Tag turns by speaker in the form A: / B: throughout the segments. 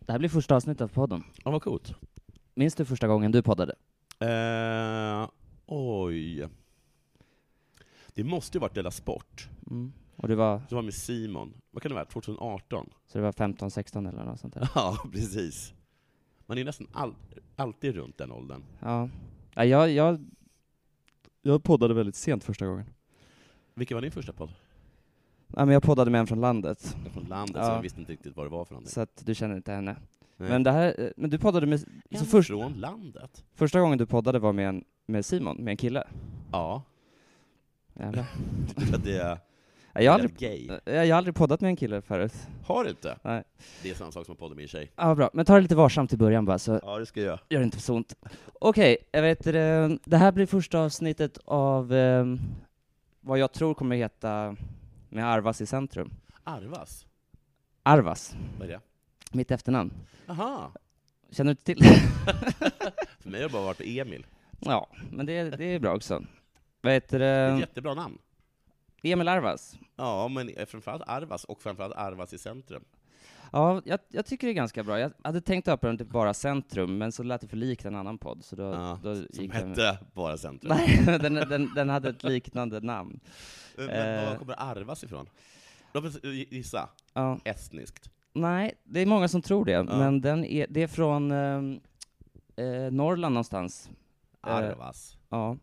A: Det här blir första avsnittet av podden.
B: Ja, vad coolt.
A: Minns du första gången du poddade?
B: Eh, oj. Det måste ju varit Della Sport.
A: Och du var,
B: Det var med Simon. Vad kan det vara? 2018?
A: så du var 15, 16 eller något sånt där?
B: Ja, precis. Man är nästan all, alltid runt den åldern.
A: Ja. ja jag, jag... Jag poddade väldigt sent första gången.
B: Vilken var din första podd?
A: Ja, men jag poddade med en från landet,
B: Den Från landet,
A: Ja.
B: så jag visste inte riktigt vad det var för någonting.
A: så att du känner inte henne.
B: Nej.
A: Men det här, eh, men du poddade med... Så
B: En
A: först,
B: Från landet?
A: första gången du poddade var med en, med Simon, med en kille?
B: Ja.
A: Jävlar.
B: För att det är
A: Ja, Jag har aldrig,
B: aldrig... gay.
A: eh, jag har aldrig poddat med en kille förut.
B: Har du inte?
A: Nej.
B: Det är samma sak som att podda med en tjej.
A: Ja, bra. Men ta det lite varsamt i början bara, så
B: Ja, det ska jag
A: gör det inte så ont. Okej, jag vet eh, det, det här blir första avsnittet av ehm, vad jag tror kommer heta med Arvas i centrum.
B: Arvas?
A: Arvas,
B: Vad är det?
A: mitt efternamn.
B: Aha.
A: Känner du inte till?
B: För mig har det bara varit Emil.
A: ja, men det, det är bra också. Vad heter
B: Det är ett
A: det?
B: jättebra namn.
A: Emil Arvas.
B: Ja, men eh, framförallt Arvas, och framförallt Arvas i centrum.
A: Ja, jag, jag tycker det är ganska bra. Jag hade tänkt döpa den till bara Centrum, men så lät det för likt en annan podd, så då,
B: Ja,
A: då
B: Som
A: gick den...
B: hette bara centrum.
A: Nej, den, den, den hade ett liknande namn.
B: Men
A: Eh.
B: var kommer Arvas ifrån? Låt mig eh, gissa.
A: Ja.
B: Estniskt.
A: Nej, det är många som tror det, men den är, det är från ehm, eh, Norrland någonstans. Eh.
B: Arvas.
A: Ja.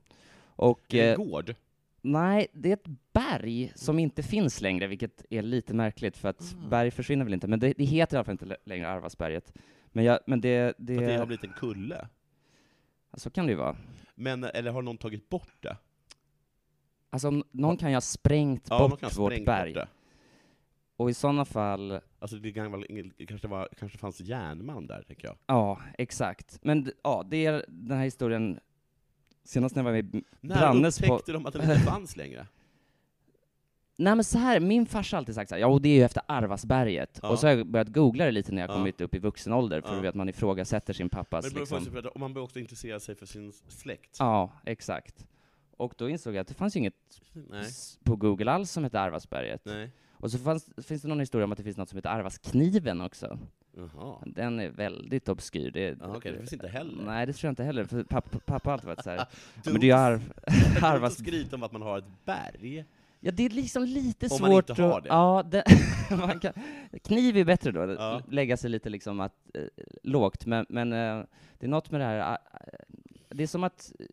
A: Och,
B: Är det
A: eh,
B: en gård?
A: nej, det är ett berg som inte finns längre, vilket är lite märkligt, för att
B: Ah.
A: berg försvinner väl inte, men det, det heter i alla fall inte lä- längre Arvasberget. Men, jag, men det, det,
B: För att det har blivit en kulle?
A: så kan det ju vara.
B: Men, eh, eller har någon tagit bort det?
A: Alltså, om någon kan ju ha sprängt
B: Ja, någon kan
A: bort
B: ha
A: vårt
B: sprängt
A: berg,
B: bort det.
A: och i sådana fall,
B: Alltså det kan vara- det kanske, var, kanske fanns järnmalm där, tänker jag.
A: ja, exakt. Men d- ja, det är den här historien, senast när jag var med i
B: När
A: Brannes på- Alltså,
B: upptäckte de att den inte fanns längre?
A: Nej men så här, min farsa har alltid sagt så här, ja och det är ju efter Arvasberget.
B: Ja.
A: Och så har jag börjat googla det lite när jag
B: Ja.
A: kommit upp i vuxen ålder, för
B: Ja.
A: du vet, man ifrågasätter sin
B: Men det
A: pappas
B: beror
A: liksom...
B: på sig, om man börjar också intressera sig för sin släkt.
A: Ja, exakt. Och då insåg jag att det fanns ju inget
B: Nej.
A: s- på Google alls som hette Arvasberget.
B: Nej.
A: Och så fanns, finns det någon historia om att det finns något som heter Arvaskniven också.
B: Jaha.
A: Den är väldigt obskyr. Det,
B: Ja, okej, det finns inte heller.
A: Nej, det tror jag inte heller, för pappa, pappa har alltid varit så här. ja, men det är ju arv, Arvas...
B: Arvas... skryt om att man har ett berg.
A: Ja, det är liksom lite
B: Om man
A: svårt
B: inte har
A: att...
B: det.
A: Ja, det, man kan, kniv är bättre då,
B: Ja.
A: lägga sig lite liksom att, eh, lågt, men, men eh, det är något med det här... ah, eh, det är som att eh,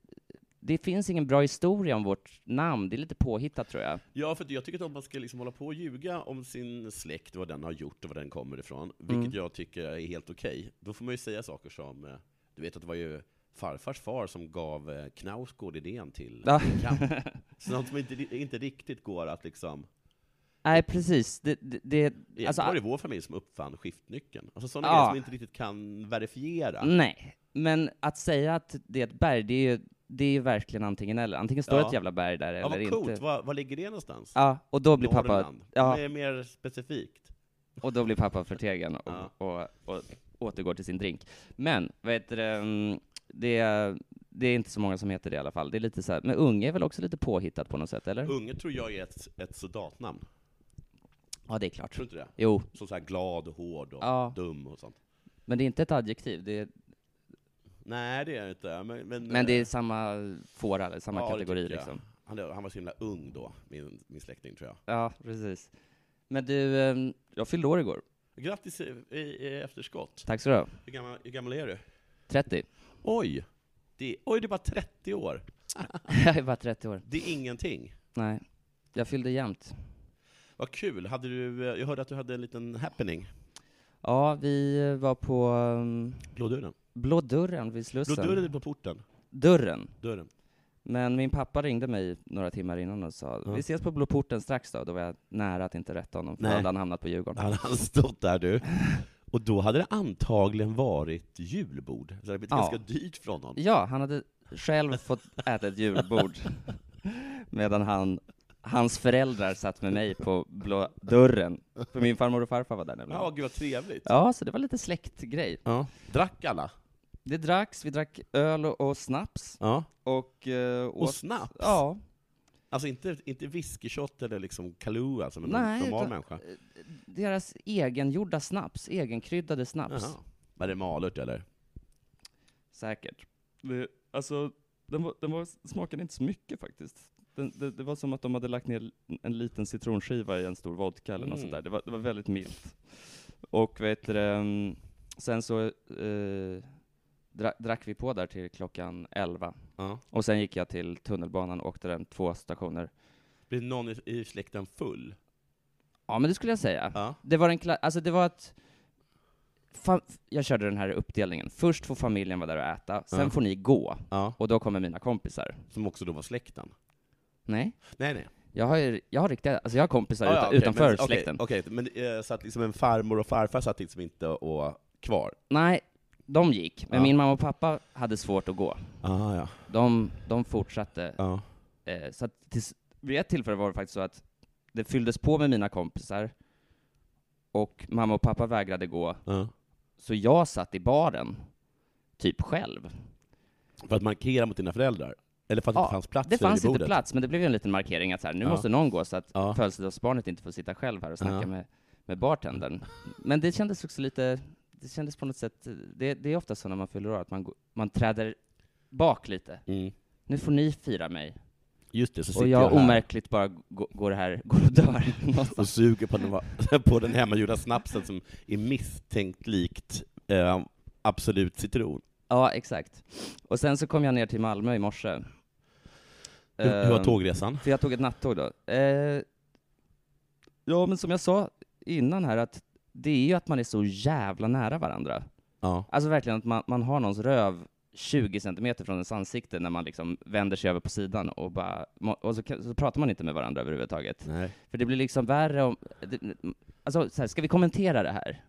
A: det finns ingen bra historia om vårt namn, det är lite påhittat tror jag.
B: Ja, för att jag tycker att om man ska liksom hålla på och ljuga om sin släkt, vad den har gjort och var den kommer ifrån, vilket
A: Mm.
B: jag tycker är helt okej, då får man ju säga saker som, eh, du vet att det var ju farfars far som gav eh, Knausgård idén till
A: Ja.
B: Mein Kampf. Sånt som inte, inte riktigt går att liksom,
A: Nej, precis. Det, det, det,
B: egentligen
A: alltså, Ah.
B: var det vår familj som uppfann skiftnyckeln. Alltså sådana
A: Ja.
B: grejer som man inte riktigt kan verifiera.
A: Nej, men att säga att det är ett berg, det är ju, det är ju verkligen antingen eller. Antingen står det
B: Ja.
A: ett jävla berg där
B: ja,
A: eller
B: vad
A: inte.
B: coolt, var, var ligger det någonstans?
A: Ja, och då blir pappa...
B: Norrland.
A: Ja.
B: Det är mer specifikt.
A: Och då blir pappa förtegen och,
B: Ja.
A: och, och återgår till sin drink. Men, vad heter det, mm, det, det är inte så många som heter det i alla fall. Det är lite så här, men unge är väl också lite påhittat på något sätt, eller?
B: Unge tror jag är ett, ett soldatnamn,
A: Ja, det är klart.
B: tror du inte det?
A: Jo,
B: Som så här glad, och hård och
A: Ja.
B: dum och sånt.
A: men det är inte ett adjektiv. Det är,
B: Nej, det är det inte. Men, men,
A: men det är samma fåra, eller samma
B: Ja, det
A: kategori
B: tycker jag.
A: liksom.
B: han, han var så himla ung då, min, min släkting tror jag.
A: Ja, precis. Men du, ehm, jag fyllde år igår.
B: Grattis i, i, i efterskott.
A: Tack så du ha.
B: Hur gammal, hur gammal är du?
A: 30.
B: Oj! Det, oj, du är bara 30 år.
A: jag är bara 30 år.
B: Det är ingenting.
A: Nej, jag fyllde jämnt.
B: Vad kul. Hade du, eh, jag hörde att du hade en liten happening.
A: Ja, vi var på um,
B: Blå dörren.
A: Blå dörren vid
B: Blå
A: Slussen.
B: dörren är på porten.
A: Dörren.
B: Dörren.
A: Men min pappa ringde mig några timmar innan och sa
B: Ja.
A: vi ses på Blå porten strax då. Då var jag nära att inte rätta honom, för då
B: Nej.
A: hade han hamnat på Djurgården.
B: Han hade stått där du. Och då hade det antagligen varit julbord. Så det hade blivit
A: Ja.
B: ganska dyrt för honom.
A: Ja, han hade själv fått äta ett julbord medan han, hans föräldrar satt med mig på Blå dörren. För min farmor och farfar var där nämligen.
B: Ja, gud vad trevligt.
A: Ja, så det var lite släktgrej.
B: Ja. Drack alla?
A: Det dracks, vi drack öl och, och snaps
B: Ja.
A: och eh, åt...
B: Och snaps?
A: Ja.
B: Alltså inte, inte whiskyshot eller liksom Kahlua som en
A: Nej,
B: normal
A: utan-
B: människa?
A: Deras egengjorda snaps, egenkryddade snaps.
B: Jaha. Var det malört eller?
A: Säkert. Det, alltså, den, var, den var, smakade inte så mycket faktiskt. Den, det, det var som att de hade lagt ner en liten citronskiva i en stor vodka eller något
B: Mm.
A: sånt där. Det var, det var väldigt milt. Och vet du, det, mm, sen så eh, dra, drack vi på där till klockan 11.
B: Ja.
A: Och sen gick jag till tunnelbanan och åkte den två stationer.
B: Blev någon i, i släkten full?
A: Ja, men det skulle jag säga.
B: Ja.
A: Det var en kla- alltså det var att fa- jag körde den här uppdelningen. Först får familjen vara där och äta, sen
B: Ja.
A: får ni gå.
B: ja.
A: Och då kommer mina kompisar.
B: Som också då var släkten?
A: Nej,
B: Nej, nej.
A: jag har, ju- jag har riktiga, alltså jag har kompisar
B: Ah, Ja,
A: uta-
B: ja, okej,
A: utanför
B: men, okej,
A: släkten.
B: Okej, men eh, så att liksom en farmor och farfar satt liksom inte och kvar?
A: Nej, de gick, men
B: Ja.
A: min mamma och pappa hade svårt att gå.
B: Ah, ja.
A: De, de fortsatte.
B: ja.
A: Eh, så att tills, vid ett tillfälle var det faktiskt så att det fylldes på med mina kompisar, och mamma och pappa vägrade gå,
B: ja.
A: så jag satt i baren, typ själv.
B: För att markera mot dina föräldrar? Eller för att det
A: Ja,
B: inte fanns plats
A: Det fanns
B: vid
A: inte
B: bordet?
A: plats, men det blev ju en liten markering att så här, nu
B: Ja.
A: måste någon gå så att
B: Ja.
A: födelsedagsbarnet inte får sitta själv här och snacka
B: Ja.
A: med, med bartendern. Men det kändes också lite, det kändes på något sätt, det, det är ofta så när man fyller år att man, går- man träder bak lite.
B: Mm.
A: Nu får ni fira mig.
B: Just det, så sitter
A: Och
B: jag,
A: jag
B: här
A: omärkligt bara g- går här, går och dör
B: och
A: någonstans.
B: suger på den, va- på den hemmagjorda snapsen som är misstänkt likt eh, Absolut citron.
A: Ja, exakt. Och sen så kom jag ner till Malmö i morse.
B: Hur, hur var
A: Ehm,
B: tågresan?
A: För jag tog ett nattåg då. Eh, ja, men som jag sa innan här, att det är ju att man är så jävla nära varandra.
B: Ja.
A: Alltså verkligen att man, man har någons röv 20 centimeter från ens ansikte när man liksom vänder sig över på sidan och bara, må- och så, kan- så pratar man inte med varandra överhuvudtaget.
B: Nej.
A: För det blir liksom värre om, det- alltså så här, ska vi kommentera det här?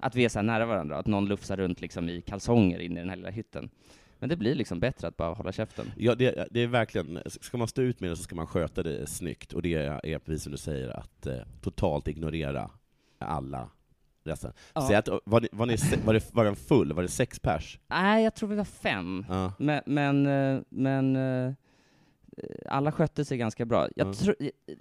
A: Att vi är så här nära varandra, att någon lufsar runt liksom i kalsonger inne i den här lilla hytten. Men det blir liksom bättre att bara hålla käften.
B: Ja, det, det är verkligen, ska man stå ut med det så ska man sköta det snyggt, och det är precis som du säger, att eh, totalt ignorera alla resten.
A: Ja.
B: Säg att, var, ni, var, ni, se- var, det, var den full? Var det sex pers?
A: Nej, jag tror vi var fem.
B: Ja.
A: Men, men, eh, men eh, alla skötte sig ganska bra. Jag
B: Mm.
A: tro,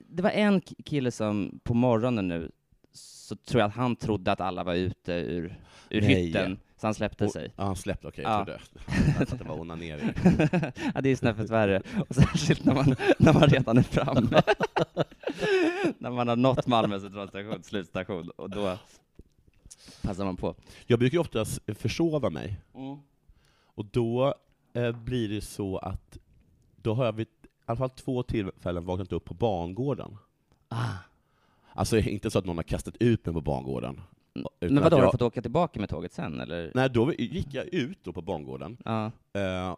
A: det var en k- kille som på morgonen nu, så tror jag att han trodde att alla var ute ur, ur
B: Nej.
A: hytten, så han släppte
B: Och-
A: sig.
B: Ja, han släppte, okej, jag
A: Ja.
B: trodde jag trodde att det var onanering.
A: ja, det är snäppet värre, och särskilt när man, när man redan är framme. när man har nått Malmö centralstation, slutstation, och då passar man på.
B: Jag brukar ju ofta s- försova mig, och då eh, blir det så att, då har jag vid i alla fall två tillfällen vaknat upp på bangården.
A: Ah.
B: Alltså inte så att någon har kastat ut mig på bangården. Utan
A: Men vadå,
B: att
A: har du
B: jag-
A: fått åka tillbaka med tåget sen, eller?
B: Nej, då gick jag ut då på bangården,
A: Ja.
B: Eh,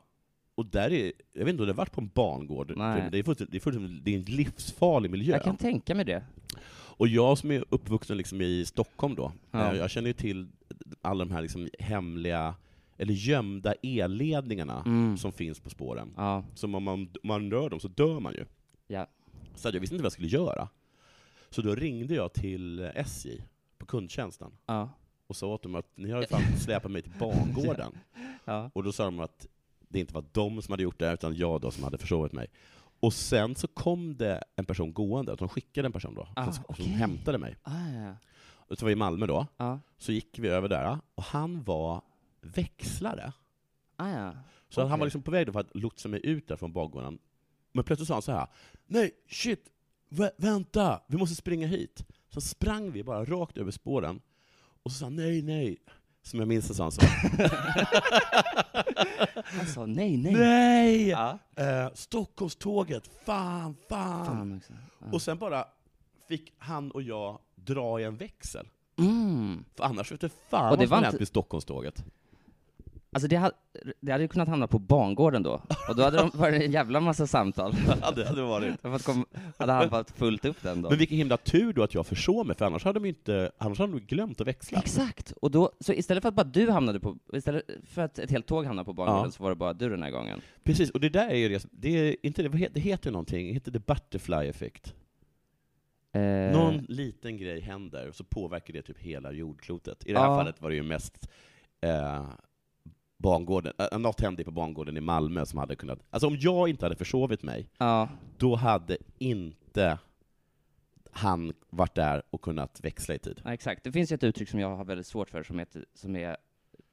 B: och där är, jag vet inte om det har varit på en bangård,
A: Nej.
B: det är, fullständigt- det, är fullständigt- det är en livsfarlig miljö.
A: Jag kan tänka mig det.
B: Och jag som är uppvuxen liksom i Stockholm då,
A: Ja.
B: eh, jag känner ju till alla de här liksom hemliga, eller gömda elledningarna
A: Mm.
B: som finns på spåren.
A: Ja.
B: Som om man, om man rör dem så dör man ju.
A: Ja.
B: Så att jag visste inte vad jag skulle göra. Så då ringde jag till SJ, på kundtjänsten,
A: Ja.
B: och sa åt dem att ni har ju fan släpat mig till bangården.
A: Ja.
B: Och då sa de att det inte var de som hade gjort det, utan jag då som hade försovit mig. Och sen så kom det en person gående, att de skickade en person då,
A: Ah,
B: som,
A: okej.
B: som hämtade mig.
A: Ah, ja, ja.
B: Och så var vi i Malmö då,
A: Ja.
B: så gick vi över där, och han var växlare.
A: Ah, ja.
B: Så
A: Okej.
B: han var liksom på väg då för att lotsa mig ut där från bakgården. Men plötsligt sa han så här. nej, shit, vä- vänta, vi måste springa hit. Så sprang vi bara rakt över spåren, och så sa han nej, nej. Som jag minns det sa han så.
A: Han sa nej, nej.
B: nej!
A: Ja.
B: Eh, Stockholmståget, fan, fan,
A: Fan också. Ja.
B: Och sen bara fick han och jag dra i en växel.
A: Mm.
B: För annars vete fan
A: Och det
B: vad som
A: var inte-
B: hade hänt med Stockholmståget.
A: Alltså det hade, det hade ju kunnat hamna på bangården då, och då hade de varit en jävla massa samtal.
B: Ja, det hade varit.
A: Hade, kom, hade han fått fullt upp den då.
B: Men vilken himla tur då att jag försov mig, för annars hade de ju inte, annars hade de ju glömt att växla.
A: Exakt! Och då, så istället för att bara du hamnade på, istället för att ett helt tåg hamnade på bangården
B: Ja.
A: så var det bara du den här gången.
B: Precis, och det där är ju det, det, är inte, det, vad heter- det heter ju någonting, heter det butterfly effekt?
A: Eh,
B: Någon liten grej händer, och så påverkar det typ hela jordklotet. I det här
A: Ja.
B: fallet var det ju mest eh, bangården, äh, något hände på bangården i Malmö som hade kunnat, alltså om jag inte hade försovit mig,
A: Ja.
B: då hade inte han varit där och kunnat växla i tid.
A: Ja, exakt. Det finns ju ett uttryck som jag har väldigt svårt för som, heter, som är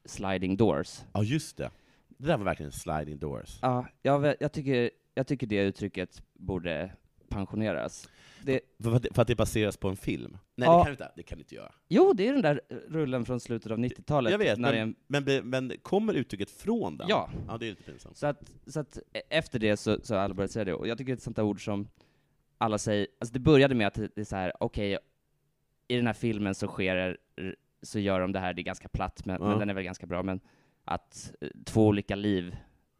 A: sliding doors.
B: Ja, just det. Det där var verkligen sliding doors.
A: Ja, jag, vä- jag, tycker, jag tycker det uttrycket borde pensioneras. Det,
B: För att, för att det baseras på en film? Nej,
A: Ja.
B: det kan du inte, det kan du inte göra.
A: jo, det är den där rullen från slutet av 90-talet.
B: Jag vet,
A: när det är
B: men,
A: en,
B: men, be- men kommer uttrycket från den?
A: Ja.
B: Ja, det är lite pinsamt.
A: så, att, så att e- efter det så, så har alla börjat säga det. Och jag tycker det är ett sånt där ord som alla säger, alltså det började med att det det är så här, okej, i den här filmen så sker det- så gör de det här, det är ganska platt, men,
B: Ja.
A: men den är väl ganska bra, men att eh, två olika liv,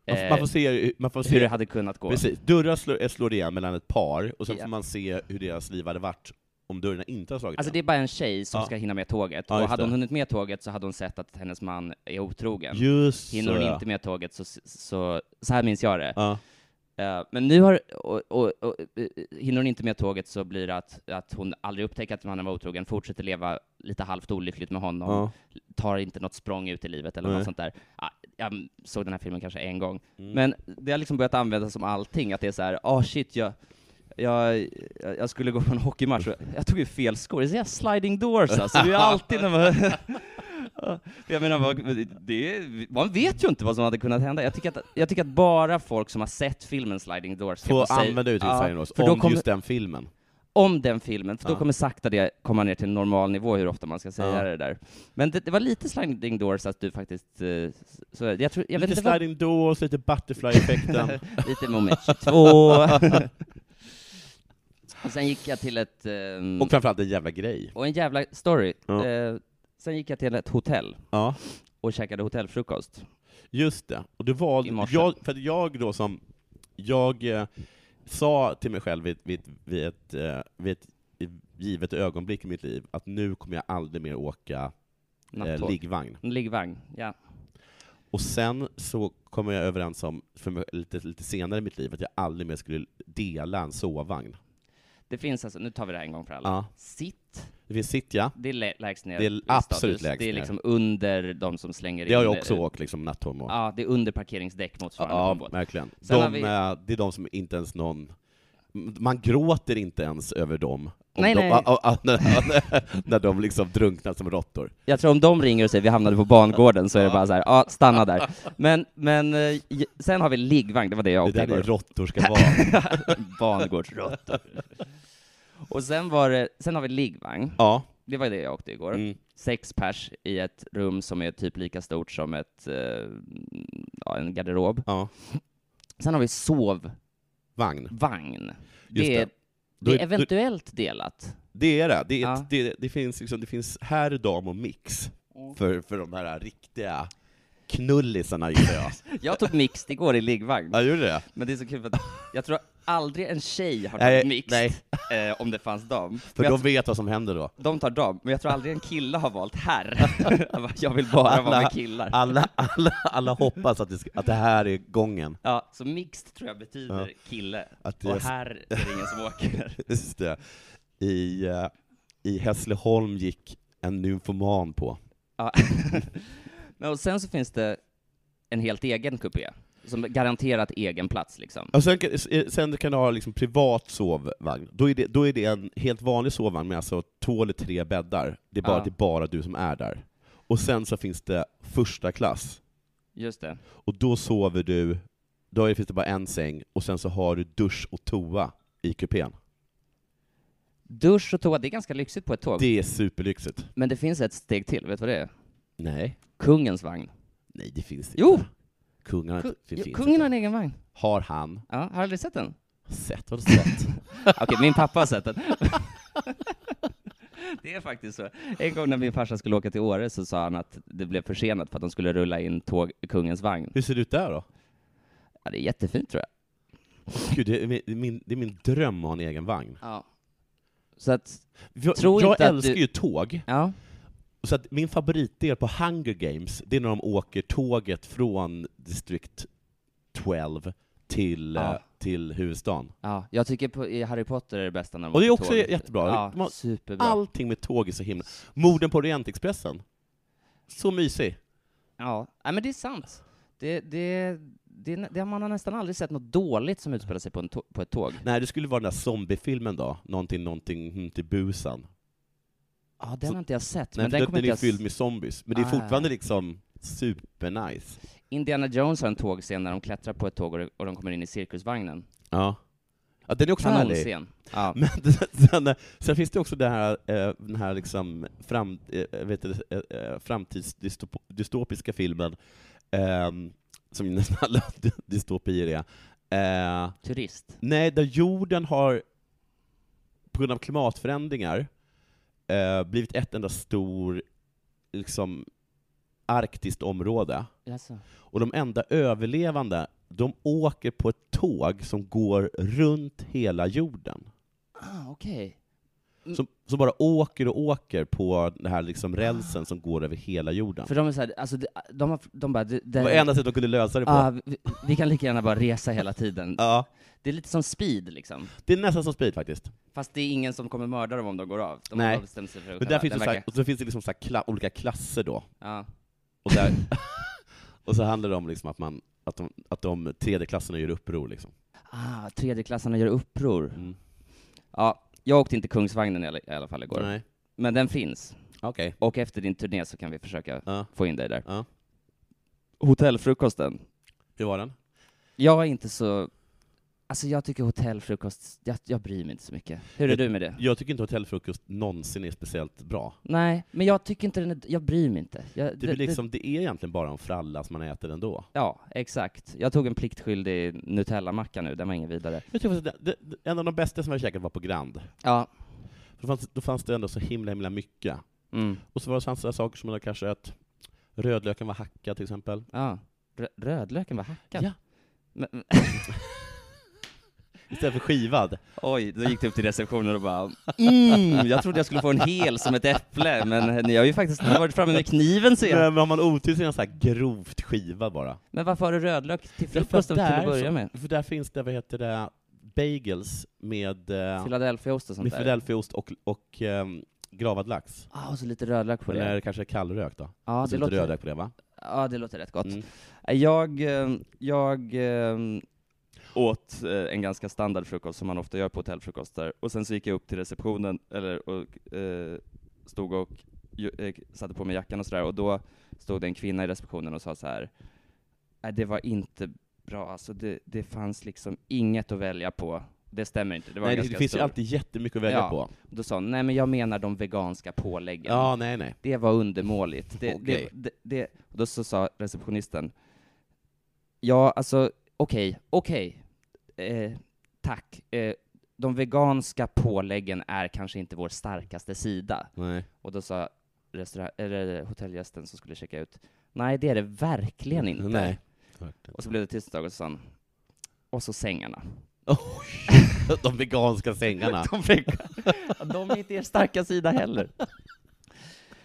B: Man, får-
A: eh,
B: man får se, man får
A: hur det
B: se
A: hade kunnat gå.
B: precis, dörrar slår, eh, slår igen mellan ett par, och sen
A: Ja.
B: får man se hur deras liv hade varit om dörrarna inte har slagit
A: Alltså det
B: igen.
A: är bara en tjej som
B: Ja.
A: ska hinna med tåget,
B: Ja,
A: och
B: just
A: hade hon
B: det.
A: hunnit med tåget så hade hon sett att hennes man är otrogen.
B: Just
A: Hinner hon
B: så, ja.
A: inte med tåget så, så, så här minns jag det.
B: Ja.
A: Eh, men nu har, och, och, och, eh, hinner hon inte med tåget så blir det att, att hon aldrig upptäcker att mannen var otrogen, fortsätter leva lite halvt olyckligt med honom,
B: Ja.
A: tar inte något språng ut i livet eller något
B: Nej.
A: sånt där. Ah, jag såg den här filmen kanske en gång,
B: Mm.
A: men det har liksom börjat användas som allting, att det är så här, ah shit, jag, jag, jag skulle gå på en hockeymatch, och jag tog ju fel skor, det är så här sliding doors alltså, det är ju alltid när man... jag menar, vad- det, är- man vet ju inte vad som hade kunnat hända. Jag tycker att, jag tycker att bara folk som har sett filmen Sliding Doors ska
B: Få
A: få säga-
B: använda uttrycket
A: Ja,
B: sliding doors
A: för då
B: om
A: kommer-
B: just den filmen.
A: om den filmen, för då
B: Ja.
A: kommer sakta det komma ner till en normal nivå hur ofta man ska säga
B: Ja.
A: det där. Men det, det var lite sliding doors att du faktiskt... eh, Så jag tror, jag vet
B: lite
A: inte vad,
B: sliding doors, lite butterfly-effekten.
A: lite moment 22. och sen gick jag till ett... ehm,
B: och framförallt en jävla grej.
A: och en jävla story.
B: Ja.
A: Eh, sen gick jag till ett hotell
B: Ja.
A: och käkade hotellfrukost.
B: Just det. Och du
A: I
B: valde,
A: morse.
B: jag, för att jag då som, jag eh, sa till mig själv vid, vid, vid, ett, eh, vid ett givet ögonblick i mitt liv att nu kommer jag aldrig mer åka eh,
A: Nattåg.
B: liggvagn.
A: En liggvagn, ja.
B: Och sen så kom jag överens om, för mig, lite, lite senare i mitt liv, att jag aldrig mer skulle dela en sovvagn.
A: Det finns alltså, nu tar vi det här en gång för alla.
B: Ja.
A: Sitt,
B: Det finns Citya,
A: det är lä- lägst ner.
B: Det är
A: i
B: absolut
A: status.
B: lägst
A: Det är
B: ner.
A: liksom under de som slänger
B: det har
A: in...
B: jag också
A: eh,
B: åkt liksom nattåg med.
A: Ja, det är under parkeringsdäck motsvarande på en
B: Ja,
A: båt.
B: verkligen.
A: Sen har
B: De,
A: vi-
B: eh, Det är de som inte ens någon... Man gråter inte ens över dem. om
A: Nej,
B: de,
A: nej.
B: ah, ah, när, när de liksom drunknar som råttor.
A: Jag tror om de ringer och säger vi hamnade på bangården så är det bara så här, ja, stanna där. Men, men eh, j- sen har vi liggvagn, det var det jag
B: Det
A: åkte
B: där är
A: igår.
B: råttor ska vara.
A: Bangårdsråttor. Och sen var det, sen har vi liggvagn,
B: ja.
A: det var det jag åkte igår.
B: Mm.
A: Sex pers i ett rum som är typ lika stort som ett, eh, ja, en garderob.
B: ja.
A: Sen har vi sovvagn.
B: Vagn. Just
A: Det är,
B: det. Då
A: det
B: är-
A: är eventuellt delat.
B: Det är det. Det, är ett,
A: Ja.
B: det, det finns liksom, det finns herr, dam och mix för, för de här riktiga knullisarna, gissar jag.
A: Jag tog mixed igår i liggvagn.
B: Ja, gjorde det?
A: Men det är så kul för att jag tror aldrig en tjej har
B: Nej,
A: tagit mixed eh, om det fanns dam.
B: För
A: Men
B: de
A: jag,
B: vet vad som händer då.
A: de tar dam, men jag tror aldrig en kille har valt herr. Jag bara, jag vill bara vara med killar.
B: Alla, alla, alla hoppas att det, ska, att det här är gången.
A: Ja, så mixed tror jag betyder kille,
B: Att det
A: och
B: är-
A: herr är det ingen som åker.
B: Just det. I, eh, I Hässleholm gick en nymfoman på.
A: Ja. Men och sen så finns det en helt egen kupé, som är garanterat egen plats liksom.
B: Och sen, kan- eh, sen kan du ha liksom privat sovvagn. Då är, det, då är det en helt vanlig sovvagn med alltså två eller tre bäddar. Det är, bara,
A: Ja.
B: det är bara du som är där. Och sen så finns det första klass.
A: Just det.
B: Och då sover du, då är- finns det bara en säng, och sen så har du dusch och toa i kupén.
A: Dusch och toa, det är ganska lyxigt på ett tåg.
B: Det är superlyxigt.
A: Men det finns ett steg till, vet du vad det är?
B: Nej.
A: Kungens vagn.
B: Nej, det finns inte.
A: Jo!
B: Kungen har,
A: Ku-
B: det finns
A: kungen har
B: inte.
A: en egen vagn.
B: har han
A: Ja, har du aldrig sett den?
B: sett? Har du sett?
A: Okej, min pappa har sett den. Det är faktiskt så. En gång när min farsa skulle åka till Åre så sa han att det blev försenat för att de skulle rulla in tåg, kungens vagn.
B: Hur ser det ut där då?
A: Ja, det är jättefint tror jag.
B: Gud, det, är min- det, är min, det är min dröm att ha en egen vagn.
A: Ja. Så att,
B: Jag,
A: Tror
B: jag
A: inte att
B: älskar
A: du-
B: ju tåg,
A: ja.
B: så att min favoritdel på Hunger Games, det är när de åker tåget från distrikt 12 till,
A: Ja.
B: eh, till huvudstaden.
A: ja. Jag tycker på, i Harry Potter är det bästa när de
B: Och det är
A: åker
B: också jättebra.
A: Ja,
B: Man-
A: superbra.
B: Allting med tåg är så himla... Morden på Orientexpressen. Så mysig.
A: Ja, Nej, men det är sant. Det, det, det, det, man har nästan aldrig sett något dåligt som utspelar sig på, en tå- på ett tåg.
B: Nej, det skulle vara den där zombiefilmen då, någonting, någonting, hm, till busan.
A: Ja, den
B: Så-
A: har inte jag sett,
B: Nej,
A: men
B: för
A: den
B: den,
A: kommer
B: den
A: inte
B: är
A: jag...
B: fylld med zombies, men det är
A: Ah.
B: fortfarande liksom supernice.
A: Indiana Jones har en tågscen när de klättrar på ett tåg och, det- och de kommer in i cirkusvagnen.
B: Ja. ja den är också härlig.
A: Kanonscen. Ja.
B: Men sen, sen finns det också det här, eh, den här liksom fram, eh, vet du, eh, eh, framtidsdystopiska filmen, ehm, som nästan alla dy- dystopier är. Eh,
A: Turist.
B: nej, där jorden har, på grund av klimatförändringar, eh, blivit ett enda stor liksom, arktiskt område.
A: Jaså.
B: Och de enda överlevande, de åker på ett tåg som går runt hela jorden.
A: Ah, okej. Mm.
B: Som, som bara åker och åker på den här liksom rälsen som går över hela jorden.
A: För de är såhär, alltså, de, de, har, de bara... Det, det,
B: Det var enda sättet de kunde lösa det på.
A: ah, vi, vi kan lika gärna bara resa hela tiden.
B: Ja,
A: Det är lite som speed, liksom.
B: det är nästan som Speed faktiskt.
A: Fast det är ingen som kommer mörda dem om de går av. De
B: Nej.
A: har bestämt sig för att
B: Men där
A: själva.
B: finns
A: Den
B: det, så här,
A: verkar-
B: och så finns det liksom så här kla, olika klasser då.
A: Ja.
B: Och, där, och så handlar det om liksom att, man, att, de, att de tredje klasserna gör uppror. Liksom.
A: Ah, tredjeklassarna gör uppror.
B: Mm.
A: Ja, jag åkte inte Kungsvagnen i alla- i alla fall igår.
B: Nej.
A: Men den finns.
B: Okej.
A: Och efter din turné så kan vi försöka
B: Ja.
A: få in dig där.
B: Ja.
A: Hotellfrukosten.
B: Hur var den?
A: Jag är inte så... Alltså jag tycker hotellfrukost, jag, jag bryr mig inte så mycket. Hur är
B: Jag-
A: du med det?
B: Jag tycker inte hotellfrukost någonsin är speciellt bra.
A: Nej, men jag tycker inte den är, jag bryr mig inte. Jag,
B: Det, blir liksom, det är egentligen bara en fralla som man äter ändå.
A: ja, exakt. Jag tog en pliktskyldig Nutella-macka nu, den var ingen vidare.
B: Jag tror att det, det, en av de bästa som jag käkat var på Grand.
A: Ja.
B: Då fanns, då fanns det ändå så himla, himla mycket.
A: Mm.
B: Och så var det sådana saker som man hade kanske att rödlöken var hackad till exempel.
A: ja. Rö- rödlöken var hackad.
B: Ja.
A: Men, men-
B: Istället för skivad.
A: Oj, då gick du upp till receptionen och bara mm, jag trodde jag skulle få en hel som ett äpple, men ni har ju faktiskt varit framme med kniven
B: Men
A: sen.
B: har man otur så är den så här grovt skivad bara.
A: Men varför har du rödlök till
B: Därför
A: frukosten till att
B: där
A: börja
B: så-
A: med?
B: För där finns det, vad heter det, bagels med, eh,
A: Philadelphiaost och sånt
B: med
A: där?
B: filadelfiaost och, och ehm, gravad lax.
A: Ah, och så lite rödlök på det.
B: Eller kanske kallrök då?
A: Ja,
B: Och så
A: det
B: lite
A: låter,
B: rödlök på det va?
A: ja, det låter rätt gott.
B: Mm.
A: Jag, eh, jag eh, åt eh, en ganska standard frukost som man ofta gör på hotellfrukostar och sen så gick jag upp till receptionen eller, och eh, stod och ju, eh, satte på mig jackan och sådär och då stod det en kvinna i receptionen och sa så här. Nej, det var inte bra alltså. Det, det fanns liksom inget att välja på. Det stämmer inte. Det var
B: nej, det,
A: ganska
B: det finns ju
A: stor.
B: alltid jättemycket att välja
A: Ja.
B: på.
A: Då sa hon, nej men jag menar de veganska påläggen.
B: Ja, nej, nej.
A: Det var undermåligt. Det,
B: Okej.
A: det, det, det, och då så sa receptionisten, ja alltså okej, okej, eh, tack. Eh, de veganska påläggen är kanske inte vår starkaste sida.
B: nej.
A: Och då sa restaurang, eller hotellgästen som skulle checka ut, nej det är det verkligen inte.
B: Nej.
A: Och så blev det tyst ett tag och så sa han, och så sängarna.
B: De veganska sängarna.
A: De, vega- de är inte er starka sida heller.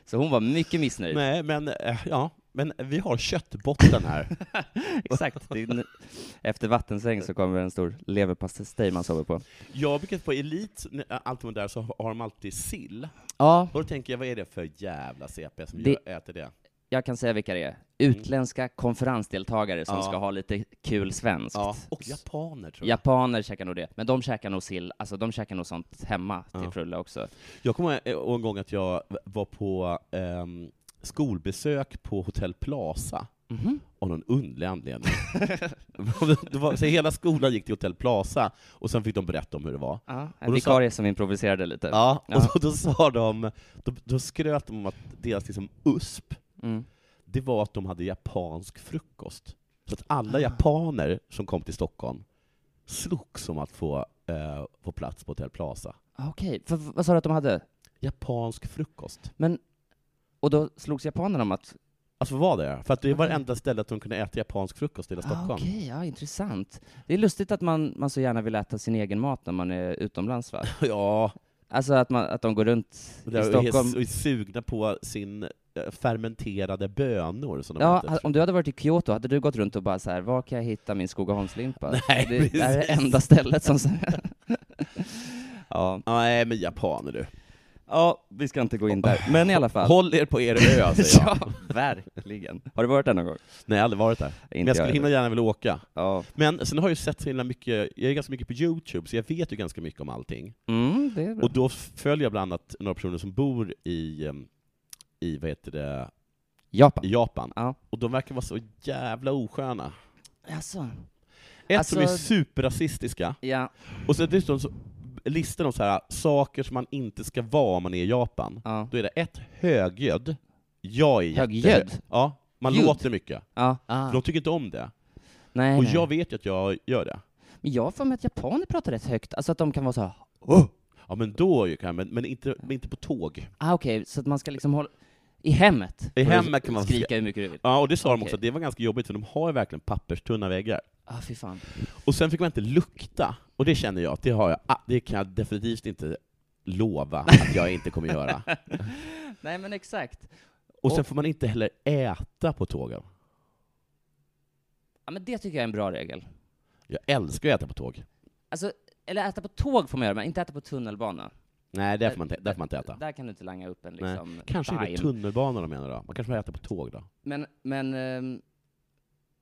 A: Så hon var mycket missnöjd.
B: Nej, men eh, ja, men vi har köttbotten här.
A: Exakt. Det är n- Efter vattensäng så kommer en stor leverpastej man sover på.
B: Jag brukar på Elit, när- eh, allt vad där, så har de alltid sill.
A: Ja.
B: Och då tänker jag, vad är det för jävla CP som
A: Det-
B: gör, äter det?
A: Jag kan säga vilka det är. Utländska konferensdeltagare som
B: Ja.
A: ska ha lite kul svenskt.
B: Ja. Och japaner tror jag.
A: Japaner käkar nog det, men de käkar nog sill, alltså de käkar nog sånt hemma till
B: Ja.
A: frulle också.
B: Jag kommer ihåg eh, en gång att jag var på ehm, skolbesök på Hotell Plaza.
A: Mhm.
B: Av någon underlig anledning. det var, så hela skolan gick till Hotell Plaza, och sen fick de berätta om hur det var.
A: Ja,
B: Och
A: en
B: då sa-
A: vikarie som improviserade lite.
B: Ja, och
A: Ja.
B: då, då sa de, då, då skröt de om att deras liksom USP,
A: Mm.
B: det var att de hade japansk frukost. Så att alla japaner som kom till Stockholm slogs om att få, eh, få plats på Hotell Plaza.
A: Ah, Okej, för, för- vad sa du att de hade?
B: Japansk frukost.
A: Men, och då slogs japanerna om att...
B: Alltså vad var det? För att det var
A: Okej.
B: det enda stället de kunde äta japansk frukost i hela
A: Ah,
B: Stockholm.
A: Okej, ja intressant. Det är lustigt att man, man så gärna vill äta sin egen mat när man är utomlands va?
B: Ja,
A: Alltså att, man, att de går runt
B: och där
A: i
B: är helt-
A: Stockholm.
B: och är sugna på sin eh, fermenterade bönor som de
A: Ja,
B: äter.
A: ha- om du hade varit i Kyoto, hade du gått runt och bara så här, var kan jag hitta min Skogaholmslimpa?
B: Nej,
A: det, det här är
B: precis.
A: enda stället som... så här- ja.
B: Nej, men japaner du.
A: Ja, vi ska inte gå in där. Men i alla fall.
B: Håll er på er ö, säger jag.
A: ja, verkligen. Har du varit där någon gång?
B: Nej, jag har aldrig varit där.
A: Inte
B: Men jag skulle
A: heller.
B: himla gärna vilja åka.
A: Ja.
B: Men sen har jag ju sett så himla mycket, jag är ganska mycket på YouTube, så jag vet ju ganska mycket om allting.
A: Mm, det är bra.
B: Och då följer jag bland annat några personer som bor i, em, i vad heter det,
A: Japan.
B: i Japan.
A: Ja.
B: Och de verkar vara så jävla osköna.
A: Alltså.
B: Ett som är
A: Alltså-
B: superrasistiska,
A: Ja.
B: och sen dessutom så listar de så här saker som man inte ska vara om man är i Japan.
A: Ja.
B: Då är det ett, högljudd. Jag är jätte-
A: Högljudd?
B: Ja, man
A: Ljud.
B: låter mycket.
A: ja.
B: De tycker inte om det.
A: Nej,
B: Ah. Och
A: nej.
B: jag vet ju att jag gör det.
A: Men jag har för mig att japaner pratar rätt högt, alltså att de kan vara så här,
B: Ja men då är ju kan men, men, inte, men inte på tåg.
A: ah, okej, så att man ska liksom hålla... I hemmet? får du
B: hemmet kan man
A: skrika hur mycket du vill.
B: Ja, och det sa de
A: Okej.
B: också, att det var ganska jobbigt, för de har ju verkligen papperstunna väggar.
A: Ah, fy fan.
B: Och sen fick man inte lukta, och det känner jag att det har jag, ah, det kan jag definitivt inte lova att jag inte kommer göra.
A: Nej men exakt.
B: Och sen
A: Och-
B: får man inte heller äta på tågen.
A: Ja men det tycker jag är en bra regel.
B: Jag älskar att äta på tåg.
A: Alltså, eller äta på tåg får man göra, men inte äta på tunnelbana.
B: Nej, där får man inte, där får man inte äta.
A: Där kan du inte langa upp en
B: Nej.
A: liksom...
B: Kanske är det
A: dime.
B: tunnelbanan de menar då? Man kanske får äta på tåg då?
A: Men, men... ehm,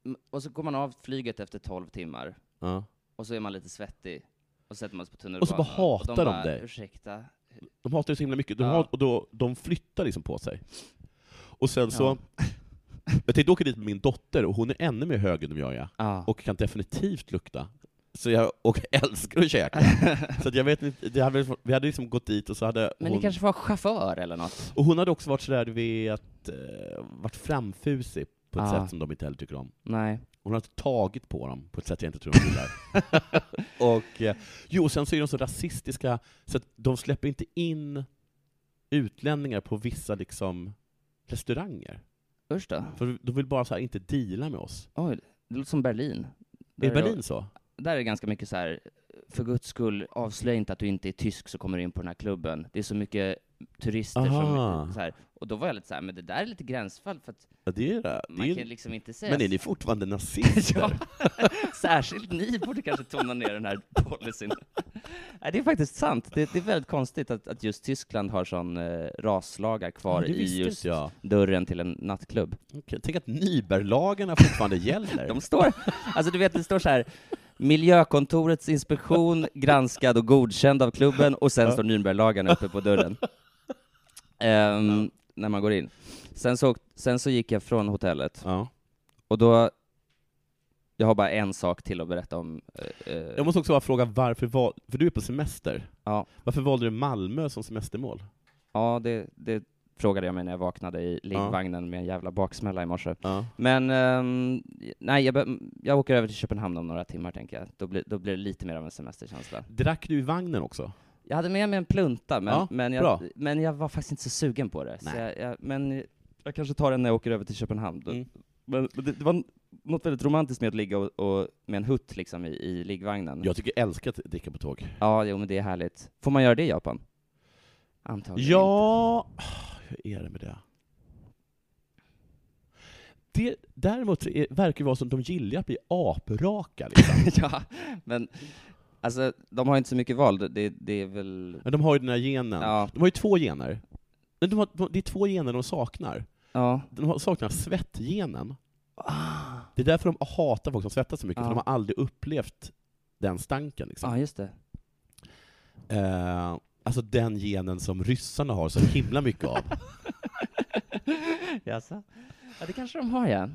A: m- och så går man av flyget efter 12 timmar,
B: Ja.
A: och så är man lite svettig, och så sätter man sig på tunnelbanan.
B: Och så bara hatar de
A: bara,
B: dig.
A: Ursäkta.
B: De hatar ju så himla mycket, de,
A: Ja.
B: hat, och då, de flyttar liksom på sig. Och sen
A: Ja.
B: så, jag tänkte åka dit med min dotter, och hon är ännu mer hög än jag är,
A: Ja.
B: och kan definitivt lukta. Så jag, och älskar att käka. så att jag vet inte, det hade, vi hade liksom gått dit och så hade
A: Men
B: hon,
A: ni kanske får ha chaufför eller något?
B: och hon hade också varit sådär, du vet, eh, varit framfusig på ett
A: Ja.
B: sätt som de inte heller tycker om.
A: Nej.
B: Hon har tagit på dem på ett sätt jag inte tror de gillar. och, eh, jo, och sen så är de så rasistiska, så att de släpper inte in utlänningar på vissa liksom, restauranger.
A: Usch då.
B: För de vill bara så här, inte deala med oss.
A: Oj, det låter som Berlin.
B: Är
A: Där
B: Berlin så?
A: där är det ganska mycket så här, för guds skull, avslöja inte att du inte är tysk så kommer du in på den här klubben. Det är så mycket turister
B: Aha.
A: som... Så här. Och då var jag lite så här, men det där är lite gränsfall, för att
B: Ja, det är det.
A: man
B: det är,
A: kan liksom inte säga...
B: men är ni fortfarande nazister?
A: Ja. Särskilt ni borde kanske tona ner den här policyn. Nej, det är faktiskt sant. Det, det är väldigt konstigt att, att just Tyskland har sån eh, raslagar kvar
B: det
A: i
B: visste
A: just
B: inte jag.
A: dörren till en nattklubb.
B: Okej, Tänk att Nyberglagarna fortfarande gäller.
A: De står, alltså du vet, det står så här, miljökontorets inspektion granskad och godkänd av klubben, och sen står Nürnberglagarna uppe på dörren. Ehm, När man går in. Sen så, sen så gick jag från hotellet,
B: Ja.
A: och då, jag har bara en sak till att berätta om. eh, eh,
B: Jag måste också bara fråga varför val, för du är på semester.
A: Ja.
B: Varför valde du Malmö som semestermål?
A: ja, det, det frågade jag mig när jag vaknade i liggvagnen med en jävla baksmälla i morse.
B: Ja.
A: Men ehm, nej, jag, be- jag åker över till Köpenhamn om några timmar, tänker jag. Då blir, då blir det lite mer av en semesterkänsla.
B: Drack du i vagnen också?
A: Jag hade med mig en plunta, men,
B: Ja,
A: men,
B: bra.
A: jag, men jag var faktiskt inte så sugen på det. Så
B: Nej.
A: jag, jag, men jag kanske tar den när jag åker över till Köpenhamn. Då-
B: Mm.
A: Men, men det, det var n- något väldigt romantiskt med att ligga och, och, med en hutt liksom, i, i liggvagnen.
B: Jag tycker jag älskar att dricka på tåg.
A: Ja, jo, men det är härligt. Får man göra det i Japan? Antagligen
B: Ja, hur är det med det? det däremot så är, verkar det vara som de gillar att bli apraka. Liksom.
A: inte. ja, men alltså, de har inte så mycket val. Det, det är väl...
B: Men de har ju den här genen.
A: Ja,
B: De har ju två gener. Men De har, de- det är två gener de saknar.
A: ja.
B: De har- saknar svettgenen. Det är därför de hatar folk som svettas så mycket,
A: Ja.
B: för de har aldrig upplevt den stanken. Liksom.
A: ja just det.
B: Eh, alltså den genen som ryssarna har så himla mycket av.
A: Jaså? Ja, det kanske de har, ja.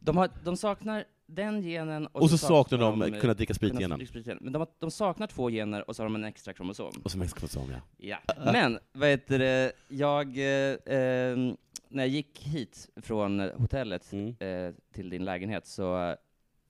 A: De, har, de saknar den genen och,
B: Och så saknar de
A: eh,
B: kunna dricka
A: kunna
B: spritgenen.
A: dricka spritgenen. Men de, har, de saknar två gener och så har de en extra kromosom.
B: Och som exklusion, ja.
A: Ja. Men, vad heter det, jag... Eh, eh, när jag gick hit från hotellet
B: Mm.
A: eh, till din lägenhet så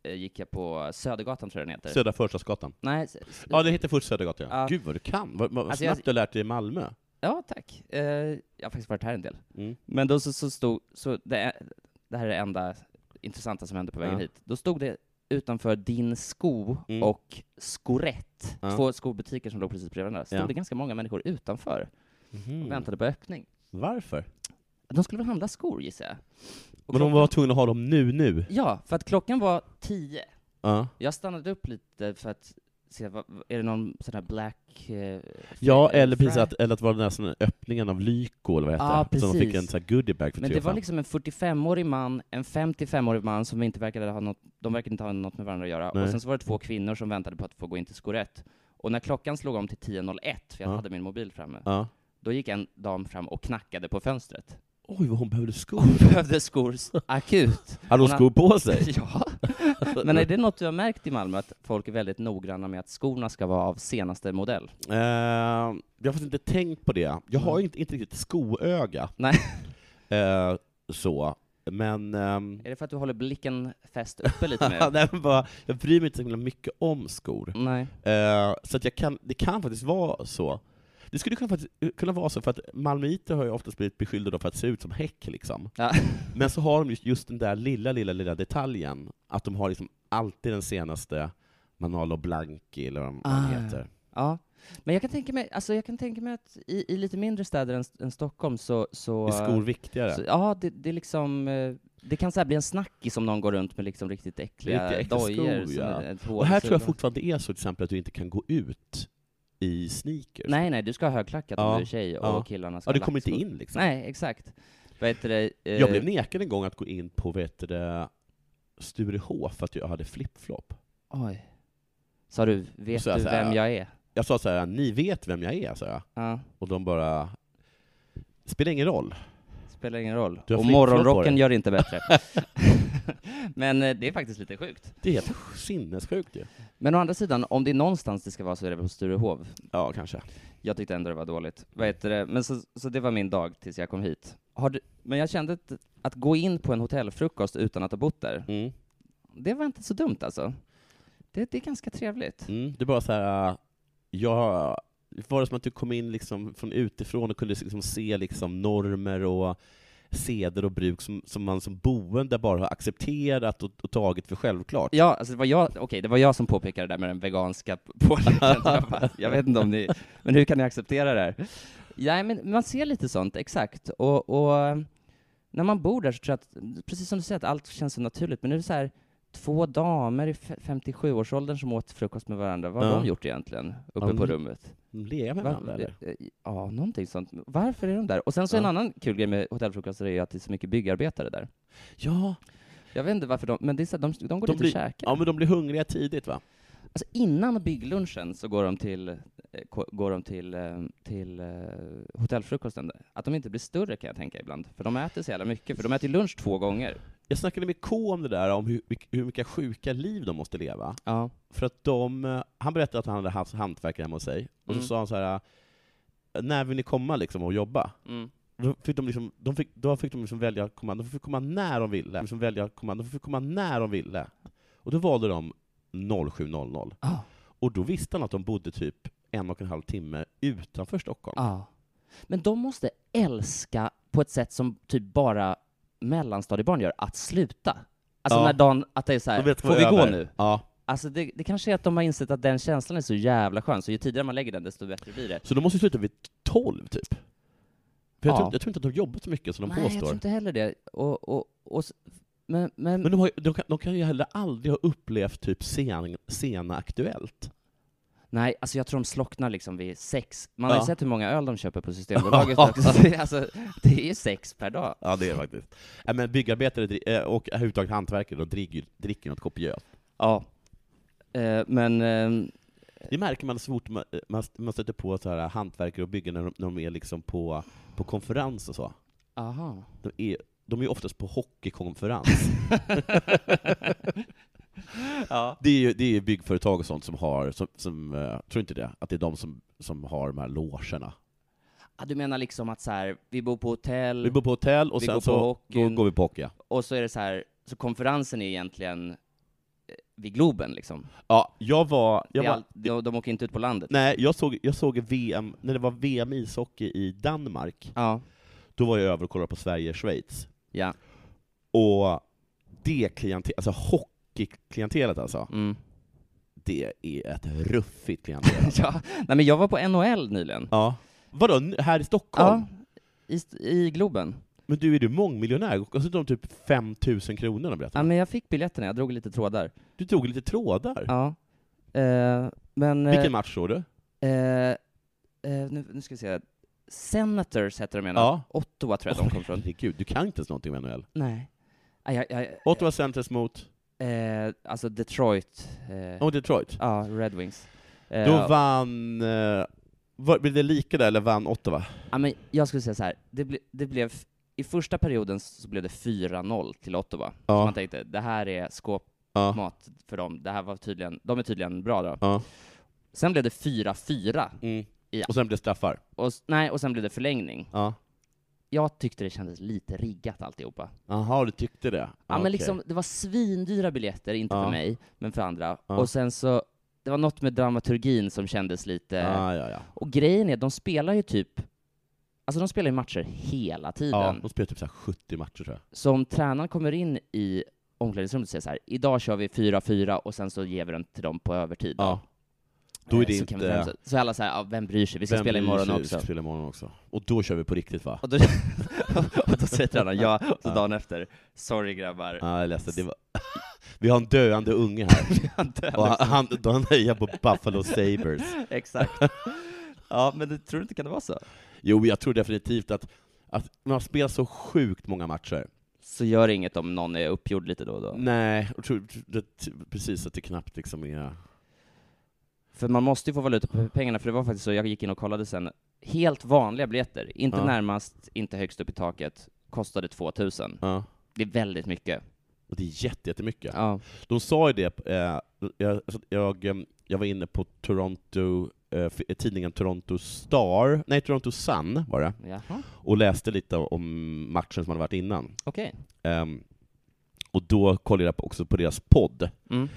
A: eh, gick jag på Södergatan, tror jag den heter.
B: Södra Förstadsgatan.
A: Nej, s- s-
B: Ja, det heter först Södergatan. Ja.
A: Ja.
B: Gud vad du kan! Vad, vad
A: Alltså, jag-
B: snabbt du har lärt dig i Malmö.
A: ja, tack. Eh, jag har faktiskt varit här en del.
B: Mm.
A: Men då så, så stod, så det, är- det här är det enda intressanta som hände på vägen
B: Ja.
A: hit. Då stod det utanför din sko
B: Mm.
A: och Skorett,
B: Ja.
A: två skobutiker som låg precis bredvid varandra, stod
B: Ja. Mm.
A: det ganska många människor utanför och väntade på öppning.
B: Varför?
A: De skulle väl handla skor gissar jag. Och
B: Men de
A: klockan-
B: var tvungna att ha dem nu, nu.
A: Ja, för att klockan var tio.
B: Ja.
A: Jag stannade upp lite för att se, vad, är det någon sån här black... eh,
B: Ja,
A: fri-
B: eller precis
A: fri-
B: att, eller att vara den här sån här öppningen av Lyko, eller vad det
A: Ja,
B: heter. så de fick
A: precis.
B: en sån här goodiebag för
A: Men det
B: 3
A: var liksom en 45-årig man, en 55-årig man som inte verkade ha något, de verkade inte ha något med varandra att göra.
B: Nej.
A: Och sen så var det två kvinnor som väntade på att få gå in till skorett. Och när klockan slog om till 10.01, för jag
B: Ja.
A: hade min mobil framme,
B: Ja.
A: då gick en dam fram och knackade på fönstret.
B: Oj, vad hon behövde skor.
A: Hon behövde skor akut.
B: Hade hon
A: Hon
B: skor på sig?
A: Ja. Men är det något du har märkt i Malmö, att folk är väldigt noggranna med att skorna ska vara av senaste modell?
B: Eh, jag har faktiskt inte tänkt på det. Jag har ju inte, inte riktigt skoöga.
A: Nej.
B: Eh, så. Men... ehm,
A: Är det för att du håller blicken fäst uppe lite mer?
B: Nej, men bara, jag bryr mig inte så himla mycket om skor.
A: Nej.
B: Eh, så att jag kan, det kan faktiskt vara så. Det skulle kunna, faktiskt, eh, kunna vara så, för att malmöiter har ju oftast blivit beskyllda då för att se ut som häck, liksom.
A: Ja.
B: Men så har de just, just den där lilla, lilla, lilla detaljen, att de har liksom alltid den senaste Manalo Blanchi, eller vad man
A: Ah.
B: heter.
A: Ja, men jag kan tänka mig, alltså jag kan tänka mig att i, i lite mindre städer än, än Stockholm så... så
B: Är skor viktigare?
A: så, Ja, det, det är liksom... eh, Det kan så här bli en snackis om någon går runt med liksom riktigt äckliga,
B: Riktigt äckliga
A: dojor.
B: skor,
A: som
B: ja.
A: är ett hår
B: Och här
A: i
B: tror jag
A: sulan.
B: fortfarande det är så till exempel att du inte kan gå ut i sneakers.
A: Nej, nej, du ska ha högklackat om
B: Ja,
A: du är tjej och
B: ja.
A: killarna ska
B: ja, du
A: ha
B: kommer inte
A: lackskor.
B: in liksom.
A: Nej, exakt. Vad heter det? eh,
B: Jag blev nekad en gång att gå in på vad heter det, Sturehof för att jag hade flip-flop.
A: Oj. Sa du, vet
B: Så jag
A: du
B: så här-
A: vem jag är?
B: Jag sa så här: ni vet vem jag är, sa jag.
A: Ja,
B: Och de bara, spelar ingen roll.
A: spelar ingen roll.
B: Du har
A: Och
B: flip-flop på
A: morgonrocken
B: dig.
A: gör det inte bättre. men eh, det är faktiskt lite sjukt.
B: Det är helt sinnessjukt ju.
A: Men å andra sidan, om det är någonstans det ska vara så är det väl på Sturehov.
B: Ja, kanske.
A: Jag tyckte ändå det var dåligt. Vad heter det? Men så, så det var min dag tills jag kom hit. Har du, men jag kände att, att gå in på en hotellfrukost utan att ha bott där,
B: Mm.
A: det var inte så dumt alltså. Det, det är ganska trevligt.
B: Mm. Det är bara så här, äh, jag, var det som att du kom in liksom från utifrån och kunde liksom se liksom normer och seder och bruk som, som man som boende bara har accepterat och, och tagit för självklart.
A: Ja, alltså det var jag, okej, det var jag som påpekade det där med den veganska p- påleken. Jag bara, jag vet inte om ni, men hur kan ni acceptera det här? Nej, men man ser lite sånt, exakt. Och, och när man bor där så tror jag att, precis som du säger, att allt känns så naturligt, men nu är det så här, två damer i fe- 57-årsåldern som åt frukost med varandra, vad har
B: Ja.
A: de gjort egentligen, uppe
B: Ja,
A: på
B: men-
A: rummet?
B: Leva med
A: Va-
B: varandra, eller?
A: eh, Ja, någonting sånt. Varför är de där? Och sen så en
B: Ja.
A: annan kul grej med hotellfrukoster är ju att det är så mycket byggarbetare där.
B: Ja,
A: Jag vet inte varför de, men det är så här, de, de går
B: De
A: dit
B: blir-
A: och käkar.
B: ja, men de blir hungriga tidigt va?
A: Alltså innan bygglunchen så går de till, eh, ko- går de till, eh, till eh, hotellfrukosten. där. Att de inte blir större kan jag tänka ibland, för de äter så jävla mycket, för de äter ju lunch två gånger.
B: Jag snackade med K om det där, om hur, hur mycket sjuka liv de måste leva.
A: Ja.
B: För att de, eh, han berättade att han hade haft hantverkare hemma hos sig, och
A: Mm.
B: så sa han så här eh, när vill ni komma liksom och jobba?
A: Mm.
B: Då fick de, liksom, de, fick, då fick de liksom välja att komma, de fick komma när de ville, liksom välja att komma, de fick komma när de ville. Och då valde de 07.00,
A: Ah,
B: och då visste han att de bodde typ en och en halv timme utanför Stockholm.
A: ah. Men de måste älska, på ett sätt som typ bara mellanstadiebarn gör, att sluta. Alltså
B: Ja.
A: när dagen, att det är så här,
B: De vet
A: får
B: vad
A: vi
B: jag
A: gå
B: över.
A: nu?
B: Ja.
A: Alltså det, det kanske är att de har insett att den känslan är så jävla skön, så ju tidigare man lägger den, desto bättre blir det.
B: Så de måste ju sluta vid 12, typ. För jag,
A: Ja.
B: tror, jag tror inte att de har jobbat så mycket som de
A: Nej, jag tror
B: påstår.
A: inte heller det. Och, och, och, s- men, men,
B: Men de, har, ju- de, kan, de kan ju heller aldrig ha upplevt typ sen, sena Aktuellt.
A: Nej, alltså jag tror de slocknar liksom vid sex. Man har
B: Ja.
A: ju sett hur många öl de köper på Systembolaget. alltså, det är ju sex per dag.
B: Ja, det är det faktiskt. Nej, men byggarbetare dri- eh, och överhuvudtaget hantverkare, de dricker, dricker något kopiöst.
A: Ja. Eh, men, eh,
B: Det märker man så fort man, man, man stöter på så här hantverkare och byggare när de, när de är liksom på, på konferens och så.
A: aha.
B: De är, de är ju oftast på hockeykonferens. Det är ju det är ju byggföretag och sånt som har, som, som eh, tror inte det, att det är de som, som har de här logerna.
A: Ah, du menar liksom att så här, vi bor på hotell,
B: Vi bor på hotell och
A: Vi
B: sen
A: går på
B: så då
A: hockeyn.
B: går vi på hockey. ja.
A: och så är det så här, så konferensen är egentligen eh, vid Globen liksom.
B: Ja, jag var... Jag
A: Det är
B: var
A: all, de, de åker inte ut på landet.
B: nej, jag såg, jag såg VM, när det var VM i ishockey i Danmark,
A: Ja.
B: då var jag över och kollade på Sverige-Schweiz.
A: Ja.
B: Och det klientelet, alltså hockeyklientelet alltså,
A: Mm.
B: det är ett ruffigt klientel. alltså.
A: ja. Nej men jag var på NHL nyligen.
B: ja. Vadå, n- här i Stockholm?
A: I, st- I Globen.
B: Men du, är du mångmiljonär? Och så tog de typ 5 000 kronor, de
A: Ja,
B: berättade.
A: men jag fick biljetterna, jag drog lite trådar.
B: Du tog lite trådar.
A: Ja. Eh, men... eh,
B: Vilken match såg du?
A: Eh, eh, nu, nu ska vi se. Senators heter de ena.
B: Ja.
A: Ottawa tror jag de kom från.
B: Herregud, du kan inte ens någonting om NHL.
A: Nej. Nej, jag, jag,
B: Ottawa Senators mot
A: eh, alltså Detroit. Eh,
B: oh, Detroit.
A: Ja, Red Wings. Eh,
B: Då vann... Eh, var, blev det lika där, eller vann Ottawa?
A: ja, men jag skulle säga så här. Det, ble, det blev, I första perioden så blev det 4-0 till Ottawa.
B: Ja.
A: Man tänkte, det här är skåpmat
B: Ja.
A: för dem. Det här var tydligen, de är tydligen bra då.
B: ja.
A: Sen blev det 4-4.
B: Mm.
A: Ja.
B: Och sen blev det straffar.
A: Och, s- nej, och sen blev det förlängning.
B: Ja.
A: Jag tyckte det kändes lite riggat alltihopa.
B: Jaha, du tyckte det?
A: Ja, men
B: Okej.
A: liksom, det var svindyra biljetter, inte
B: Ja.
A: för mig, men för andra.
B: Ja.
A: Och sen så, det var något med dramaturgin som kändes lite...
B: Ja, ja, ja.
A: Och grejen är, de spelar ju typ... Alltså de spelar ju matcher hela tiden.
B: ja. De spelade typ så här 70 matcher, tror jag.
A: Så om tränaren kommer in i omklädningsrummet och säger så här, idag kör vi 4-4 och sen så ger vi den till dem på övertid. då."
B: Ja. Då är
A: Eh,
B: det
A: så kan vi säga
B: inte...
A: så- Så alla säger, ja, vem bryr sig, vi ska
B: Vem
A: spela
B: bryr
A: imorgon
B: sig? Vi
A: också.
B: ska spela imorgon också. Och då kör vi på riktigt, va?
A: Och då, och då säger tränaren ja, och så dagen efter, sorry grabbar.
B: Ja, jag läste. Det var... Vi har en döende unge här.
A: Han dör
B: Och han, han, då han hejar på Buffalo Sabres.
A: Exakt. Ja, men det, tror du inte kan det vara så?
B: Jo, jag tror definitivt att, att man har spelat så sjukt många matcher.
A: Så gör det inget om någon är uppgjord lite då och då.
B: Nej, jag tror det, precis att det knappt liksom är...
A: För man måste ju få valuta på pengarna, för det var faktiskt så, jag gick in och kollade sen, helt vanliga biljetter, inte
B: Ja.
A: närmast, inte högst upp i taket, kostade 2000.
B: Ja.
A: Det är väldigt mycket.
B: Och det är jätte- jättemycket.
A: Ja.
B: De sa ju det, eh, jag, alltså, jag, eh, jag var inne på Toronto, eh, f- tidningen Toronto Star, nej Toronto Sun var det,
A: Jaha,
B: och läste lite om matchen som hade varit innan.
A: okej.
B: Ehm, och då kollade jag också på deras podd,
A: Mm.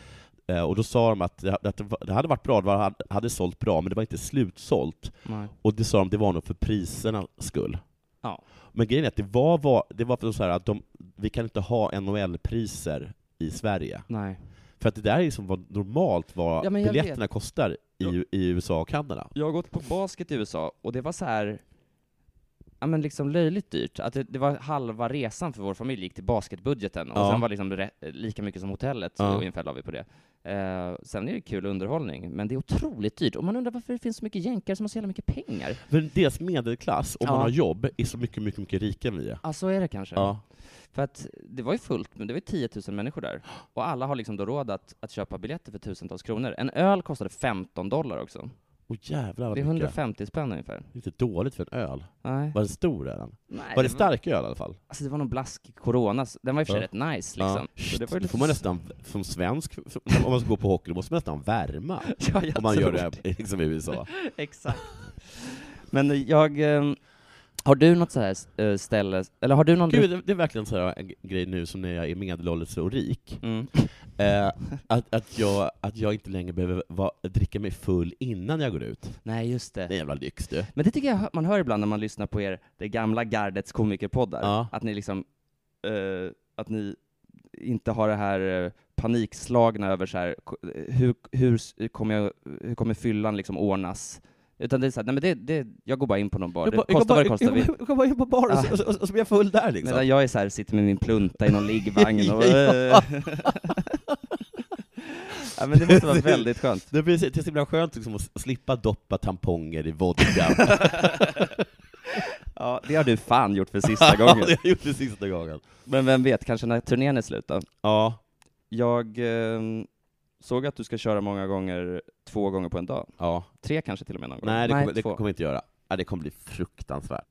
B: Eh, och då sa de att det, att det var- det hade varit bra, det var, hade sålt bra, men det var inte slutsålt.
A: Nej.
B: Och det sa de, det var nog för prisernas skull.
A: Ja.
B: Men grejen är att det var, var, det var för så här att de, vi kan inte ha NHL-priser i Sverige.
A: Nej.
B: För att det där är liksom vad normalt vad
A: Ja, men jag
B: biljetterna kostar i, i USA och Kanada.
A: Jag har gått på basket i USA, och det var så här, ja men liksom löjligt dyrt. Att det, det var halva resan för vår familj gick till basketbudgeten, och
B: Ja.
A: sen var liksom det re- lika mycket som hotellet,
B: Ja.
A: ja. ungefär la vi på det. Eh, sen är det kul underhållning, men det är otroligt dyrt, och man undrar varför det finns så mycket jänkare som har så jävla mycket pengar.
B: För deras medelklass, om man
A: Ja.
B: har jobb, är så mycket, mycket, mycket rikare än vi Alltså, är.
A: Ja, så är det kanske.
B: Ja.
A: För att det var ju fullt, men det var ju 10 000 människor där, och alla har liksom då råd att, att köpa biljetter för tusentals kronor. En öl kostade 15 dollar också.
B: Och jävlar vad
A: Det är
B: mycket.
A: 150 spänn ungefär.
B: Det är Lite dåligt för en öl.
A: Nej.
B: Var den stor ölen?
A: Nej,
B: Var det stark öl i alla fall?
A: Alltså det var någon blask corona, så- den var i och för sig
B: Ja.
A: rätt nice liksom.
B: Ja.
A: Så det var ju
B: Då
A: lite...
B: får man nästan, som svensk, om man ska gå på hockey, då måste man nästan värma.
A: ja, jag
B: Om man gör
A: tror
B: det här, liksom i USA.
A: Exakt. Men jag... ehm, Har du något så här eh, ställe, eller har du någon...
B: Gud, det- det är verkligen så här en g- grej nu som när jag är medelålders och rik,
A: Mm.
B: eh, att, att, jag, att jag inte längre behöver va, dricka mig full innan jag går ut. Det
A: Nej, just det.
B: är en jävla lyx du.
A: Men det tycker jag hö- man hör ibland när man lyssnar på er, det gamla gardets komikerpoddar,
B: Ja.
A: att ni liksom, eh, att ni inte har det här eh, panikslagna över så här, ko- eh, hur, hur, s- kommer jag, hur kommer fyllan liksom ordnas? Utan det är såhär, nej men det, det, jag går bara in på någon bar, det kostar vad det kostar. Vi,
B: Jag går bara in på bar och, så- och, och så blir jag full där liksom.
A: medan jag är så här, sitter med min plunta i någon liggvagn och...
B: Ja.
A: ja men det måste vara väldigt skönt.
B: Det blir så- det är så himla skönt liksom, att s- slippa doppa tamponger i vodka.
A: Ja, det har du fan gjort för sista gången.
B: det har jag gjort det sista gången.
A: Men vem vet, kanske när turnén är slut då?
B: Ja,
A: Jag ehm, såg att du ska köra många gånger, två gånger på en dag.
B: ja.
A: Tre kanske till och med någon gång.
B: Nej, det, kommer, det
A: två.
B: kommer jag inte göra. Ja, det kommer bli fruktansvärt.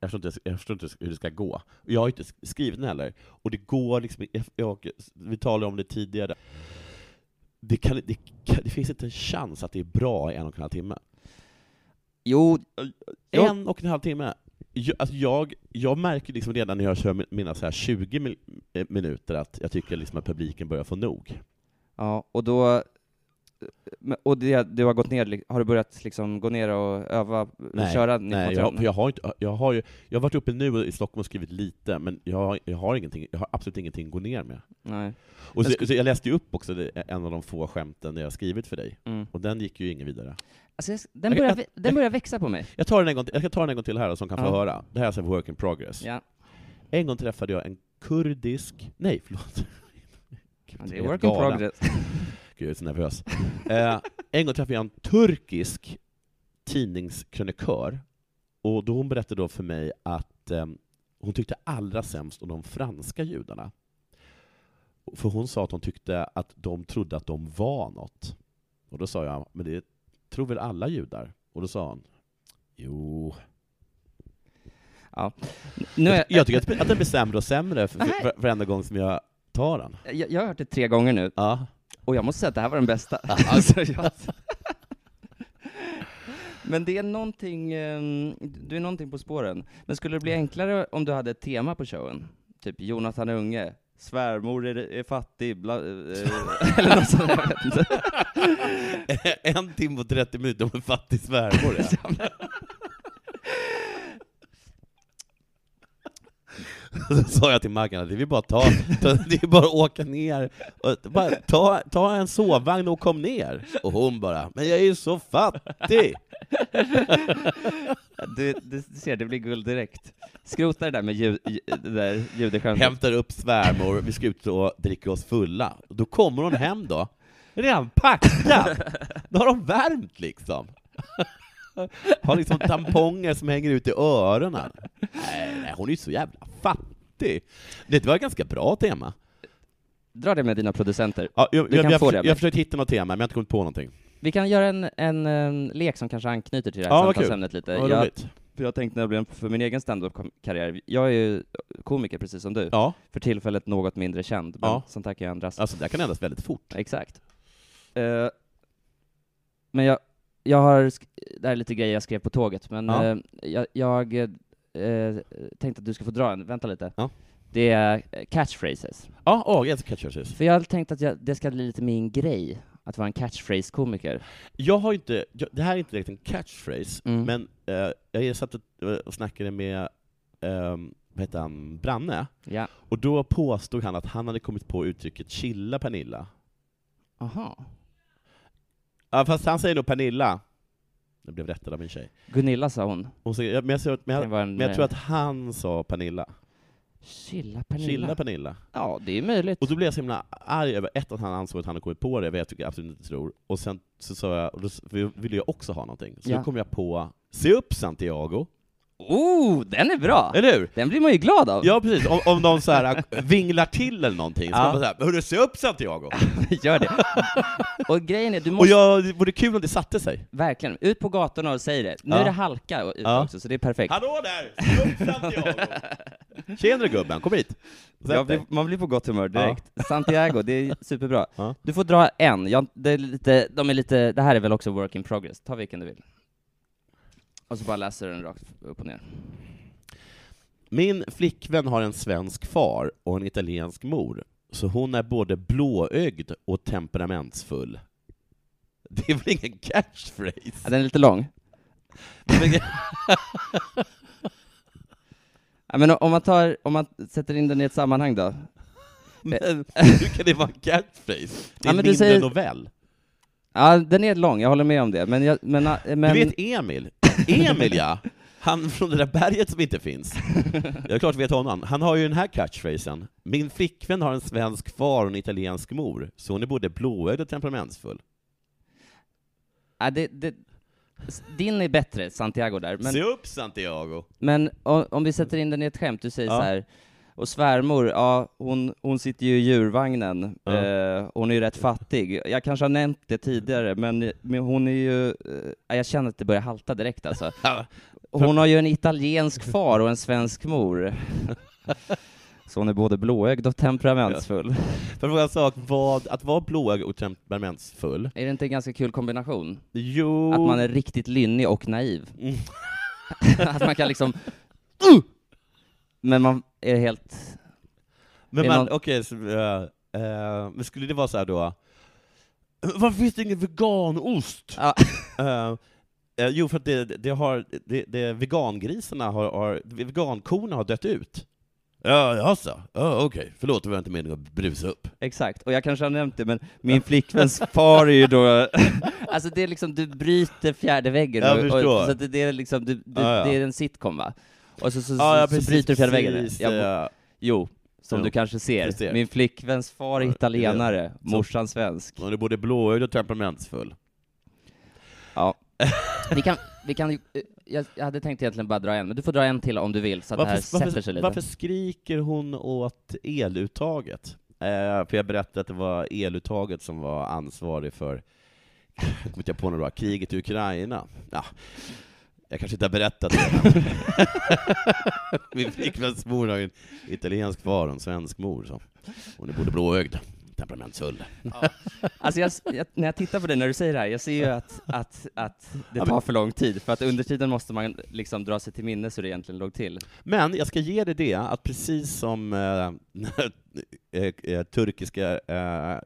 B: Jag förstår, inte, jag förstår inte hur det ska gå. Och Jag har inte sk- skrivit den heller, och det går liksom jag, jag, Vi talade om det tidigare. Det, kan, det, kan, det finns inte en chans att det är bra i en och en halv timme.
A: Jo, jag,
B: En och en halv timme! Jag, alltså jag, jag märker liksom redan när jag kör mi- mina så här 20 mil, eh, minuter att jag tycker liksom att publiken börjar få nog.
A: ja, och då... men- Och det, du har gått ner, li- har du börjat liksom gå ner och öva, köra ner
B: nej
A: mot
B: jag,
A: hörnen?
B: för jag har inte, jag har ju, jag har varit uppe nu i Stockholm och skrivit lite, men jag har, jag har ingenting, jag har absolut ingenting att gå ner med.
A: Nej.
B: Och
A: Men
B: så, så jag läste ju upp också det, en av de få skämten jag har skrivit för dig,
A: Mm.
B: och den gick ju ingen vidare.
A: Alltså, jag, den, börjar, vä- den börjar växa på mig.
B: Jag tar den en gång till, jag ska ta den en gång till här, så de kan få
A: Ja.
B: höra. Det här är alltså work in progress.
A: Ja,
B: En gång träffade jag en kurdisk... Nej, förlåt. Gud,
A: det är
B: jag
A: work in
B: galen.
A: progress.
B: Gud, jag är så nervös. Eh, en gång träffade jag en turkisk tidningskrönikör, och då hon berättade då för mig att eh, hon tyckte allra sämst om de franska judarna. För hon sa att hon tyckte att de trodde att de var något. Och då sa jag, men det tror väl alla judar? Och då sa hon, jo.
A: Ja. Nu
B: Jag,
A: har jag,
B: jag tycker att, att den blir sämre och sämre för,
A: Nej.
B: för, för, varenda gång som jag tar den.
A: jag, jag har hört det tre gånger nu,
B: Ja.
A: och jag måste säga att det här var den bästa. alltså, jag... Men det är någonting, ehm, du är någonting på spåren. Men skulle det bli enklare om du hade ett tema på showen? Typ Jonathan Unge, svärmor är, är fattig, bla, eh, eller något sånt, jag vet inte.
B: en timme och 30 minuter om en fattig svärmor. Ja. Så sa jag till Maggan att det är bara att ta, ta, det är bara att åka ner, och, bara, ta, ta en sovvagn och kom ner. Och hon bara, men jag är ju så fattig!
A: Du, du ser, det blir guld direkt. Skrota det där med ljud, ju- det där judeskämtet.
B: Hämtar upp svärmor, vi ska ut och dricka oss fulla. Och Då kommer hon hem då, redan packad! Då har de värmt liksom. Har liksom tamponger som hänger ut i öronen. Nej, nej, hon är ju så jävla fattig. Det var ett ganska bra tema.
A: Dra det med dina producenter.
B: Ja, jag,
A: Du
B: jag,
A: kan
B: jag,
A: få
B: försö-
A: det,
B: jag,
A: men-
B: har försökt hitta något tema, men jag har inte kommit på någonting.
A: Vi kan göra en, en, em, lek som kanske anknyter till det här
B: Ja, vad kul.
A: samtalsämnet lite.
B: Vad
A: jag,
B: roligt.
A: för jag tänkte nämligen för min egen standup-karriär, jag är ju komiker precis som du,
B: Ja,
A: för tillfället något mindre känd, men
B: Ja.
A: sånt här kan ju ändras.
B: alltså det här kan ändras väldigt fort.
A: Exakt. Eh, men jag, jag har, sk- det här är lite grejer jag skrev på tåget, men
B: Ja.
A: eh, jag, jag eh, tänkte att du ska få dra en, vänta lite.
B: Ja.
A: Det är eh, catchphrases.
B: Ja, åh, jag älskar catchphrases.
A: För jag hade tänkt att jag, det ska bli lite min grej, att vara en catchphrase-komiker.
B: Jag har inte, jag, det här är inte direkt en catchphrase,
A: Mm.
B: men eh, jag satt och, och snackade med, eh, vad heter han, Branne,
A: Ja.
B: och då påstod han att han hade kommit på uttrycket 'chilla Pernilla'
A: Aha.
B: Ja, fast han säger nog Pernilla. Jag blev rättad av min tjej.
A: Gunilla sa hon.
B: Hon säger, men, jag, ser att- men,
A: Kan
B: jag,
A: vara en, eh,
B: men jag tror att han sa Pernilla.
A: Chilla Pernilla.
B: Chilla Pernilla.
A: Ja, det är möjligt.
B: Och då blev jag så himla arg över ett, att han ansåg att han hade kommit på det, vad jag tycker jag absolut inte tror, och sen så sa jag, och då s- för ville jag också ha någonting, så
A: Ja.
B: då kom jag på Se upp Santiago,
A: Oh, den är bra!
B: eller hur?
A: Den blir man ju glad av.
B: Ja precis, om, om de så här vinglar till eller någonting, så
A: Ja.
B: kan man säga ”Hörru, se upp Santiago!”
A: Gör det. Och grejen är, du
B: Och
A: måste
B: jag, det vore kul om det satte sig.
A: verkligen ut på gatorna och säg det. Nu
B: Ja.
A: är det halka ute
B: Ja.
A: också, så det är perfekt.
B: ”Hallå där, se upp Santiago!” Tjenare gubben, kom hit!
A: Jag blir, man blir på gott humör direkt. Santiago, det är superbra.
B: Ja.
A: Du får dra en. Jag, det, är lite, de är lite, det här är väl också work in progress. Ta vilken du vill. Och så bara läser du den rakt upp och ner.
B: Min flickvän har en svensk far och en italiensk mor, så hon är både blåögd och temperamentsfull. Det är väl ingen
A: Ja,
B: catchphrase?
A: den är lite lång. Ja, men om man, tar, om man sätter in den i ett sammanhang då.
B: Men hur kan det vara en catchphrase? Det
A: eh. Ja,
B: är
A: men du
B: mindre
A: säger-
B: novell.
A: Ja, den är lång, jag håller med om det. Men, jag, men, men
B: Du vet Emil? Emil ja! Han från det där berget som inte finns. Jag är klart vet honom. Han har ju den här catchphrasen. Min flickvän har en svensk far och en italiensk mor, så hon är både blåögd och temperamentsfull.
A: ja, det, det, s- din är bättre, Santiago där. Men,
B: Se upp Santiago!
A: men o- om vi sätter in den i ett skämt, du säger
B: Ja.
A: så här. Och svärmor, ja, hon, hon sitter ju i djurvagnen.
B: Ja.
A: Eh, hon är ju rätt fattig. Jag kanske har nämnt det tidigare, men, men hon är ju... Eh, ja, jag känner att det börjar halta direkt alltså. Hon har ju en italiensk far och en svensk mor. Så hon är både blåögd och temperamentsfull.
B: För fråga en sak, vad, att vara blåögd och temperamentsfull,
A: Är det inte en ganska kul kombination?
B: jo...
A: Att man är riktigt lynnig och naiv.
B: Oh. Mm. Uh!
A: att man kan liksom... Men man är helt...
B: Men
A: är
B: man,
A: någon-
B: okej, så, eh, eh, men skulle det vara så här då, varför finns det ingen veganost?
A: Ja.
B: Eh, eh, jo, för att det, det har, det, det, vegangrisarna har, har, vegankorna har dött ut. Ja, jaså? Ja, okej, förlåt, det var inte meningen att brusa upp.
A: Exakt, och jag kanske har nämnt det, men min flickväns far är ju då... alltså det är liksom, du bryter fjärde väggen.
B: Jag
A: och,
B: förstår.
A: och, så att det, det är liksom, du, du,
B: Ja, ja.
A: det är en sitcom va? Och så, så,
B: Ja, ja,
A: så, så bryter du fjärde väggen.
B: precis,
A: Jag,
B: eh,
A: jo, Som
B: Jo,
A: du kanske ser.
B: jag ser.
A: Min flickväns far är
B: Ja,
A: italienare, morsan svensk.
B: Hon är både blåögd och temperamentsfull.
A: Ja. Vi kan, vi kan, ju- eh, jag, jag hade tänkt egentligen bara dra en, men du får dra en till om du vill, så att det här sätter sig lite.
B: varför skriker hon åt eluttaget? Eh, för jag berättade att det var eluttaget som var ansvarig för, jag kommer inte på några kriget i Ukraina. Ja, jag kanske inte har berättat det. Min flickväns mor har ju en italiensk far och en svensk mor. Så. Hon är både blåögd, temperamentsfull.
A: Alltså jag, jag, när jag tittar på dig när du säger det här, jag ser ju att, att, att det
B: men-
A: tar för lång tid, för att under tiden måste man liksom dra sig till minnes hur det egentligen låg till.
B: Men jag ska ge dig det, att precis som eh, eh, eh, turkiska eh,